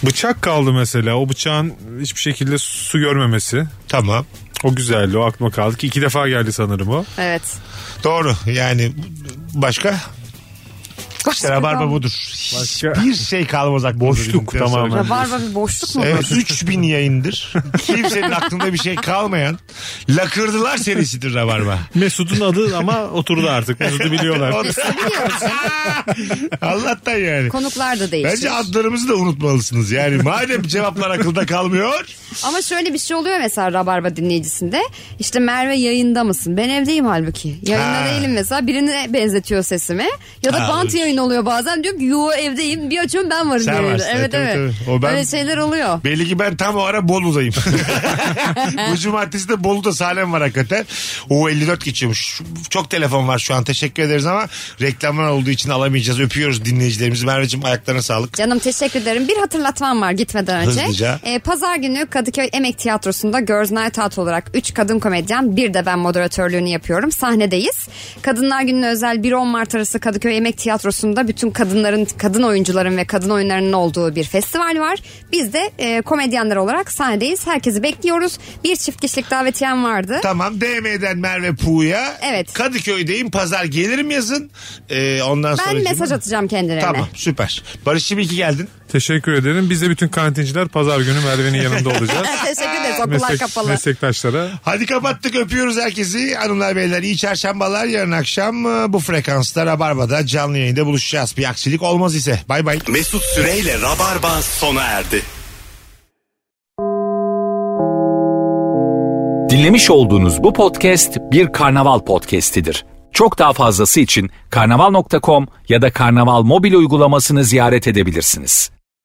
Bıçak kaldı mesela. O bıçağın hiçbir şekilde su görmemesi. Tamam. O güzeldi. O aklıma kaldı ki iki defa geldi sanırım o. Evet. Doğru yani başka? İşte rabarba budur. Başka- Hiçbir şey kalmaz aklımda. Boşluk bildikten sonra. tamamen. Rabarba bir boşluk mu? Evet 3000 yayındır. Kimsenin aklında bir şey kalmayan lakırdılar serisidir Rabarba. Mesut'un adı ama oturdu artık. Mesut'u biliyorlar. Biz biliyoruz. Allah'tan yani. Konuklar da değişir. Bence adlarımızı da unutmalısınız. Yani madem cevaplar akılda kalmıyor. Ama şöyle bir şey oluyor mesela Rabarba dinleyicisinde. İşte Merve yayında mısın? Ben evdeyim halbuki. Yayında Ha. değilim mesela. Birine benzetiyor sesimi. Ya da Ha, bant evet. yayın oluyor bazen. Diyorum ki yo evdeyim. Bir açıyorum ben varım. Sen diyor. varsın. Evet Evet, evet. tabii, tabii. O ben- Öyle şeyler oluyor. Belli ki ben tam o ara Bolu'dayım. Bu cumartesi de Bolu'da Salem var hakikaten. O 54 geçiyormuş. Çok telefon var şu an teşekkür ederiz ama reklamlar olduğu için alamayacağız. Öpüyoruz dinleyicilerimizi. Merveciğim ayaklarına sağlık. Canım teşekkür ederim. Bir hatırlatmam var gitmeden önce. Hızlıca. Ee, Pazar günü Kadıköy Emek Tiyatrosu'nda Girls Night Out olarak 3 kadın komedyen bir de ben moderatörlüğünü yapıyorum. Sahnedeyiz. Kadınlar Günü'ne özel 1-10 Mart arası Kadıköy Emek Tiyatrosu'nda bütün kadınların, kadın oyuncuların ve kadın oyunlarının olduğu bir festival var. Biz de e, komedyenler olarak sahnedeyiz. Herkesi bekliyoruz. Bir çift kişilik davetiyem vardı. Tamam DM'den Merve Puğ'ya. Evet. Kadıköy'deyim pazar gelirim yazın. Ee, ondan sonra. ben mesaj atacağım kendilerine. Tamam süper. Barış'cığım iyi ki geldin. Teşekkür ederim. Biz de bütün kantinciler pazar günü Merve'nin yanında olacağız. Teşekkür ederiz. Okullar Meslek, kapalı. meslektaşlara Hadi kapattık öpüyoruz herkesi. Hanımlar beyler iyi çarşambalar. Yarın akşam e, bu frekansta Rabarba'da canlı yayında buluşacağız. Bir aksilik olmaz ise. Bay bay. Mesut Süreyle Rabarba sona erdi. Dinlemiş olduğunuz bu podcast bir karnaval podcastidir. Çok daha fazlası için karnaval.com ya da karnaval mobil uygulamasını ziyaret edebilirsiniz.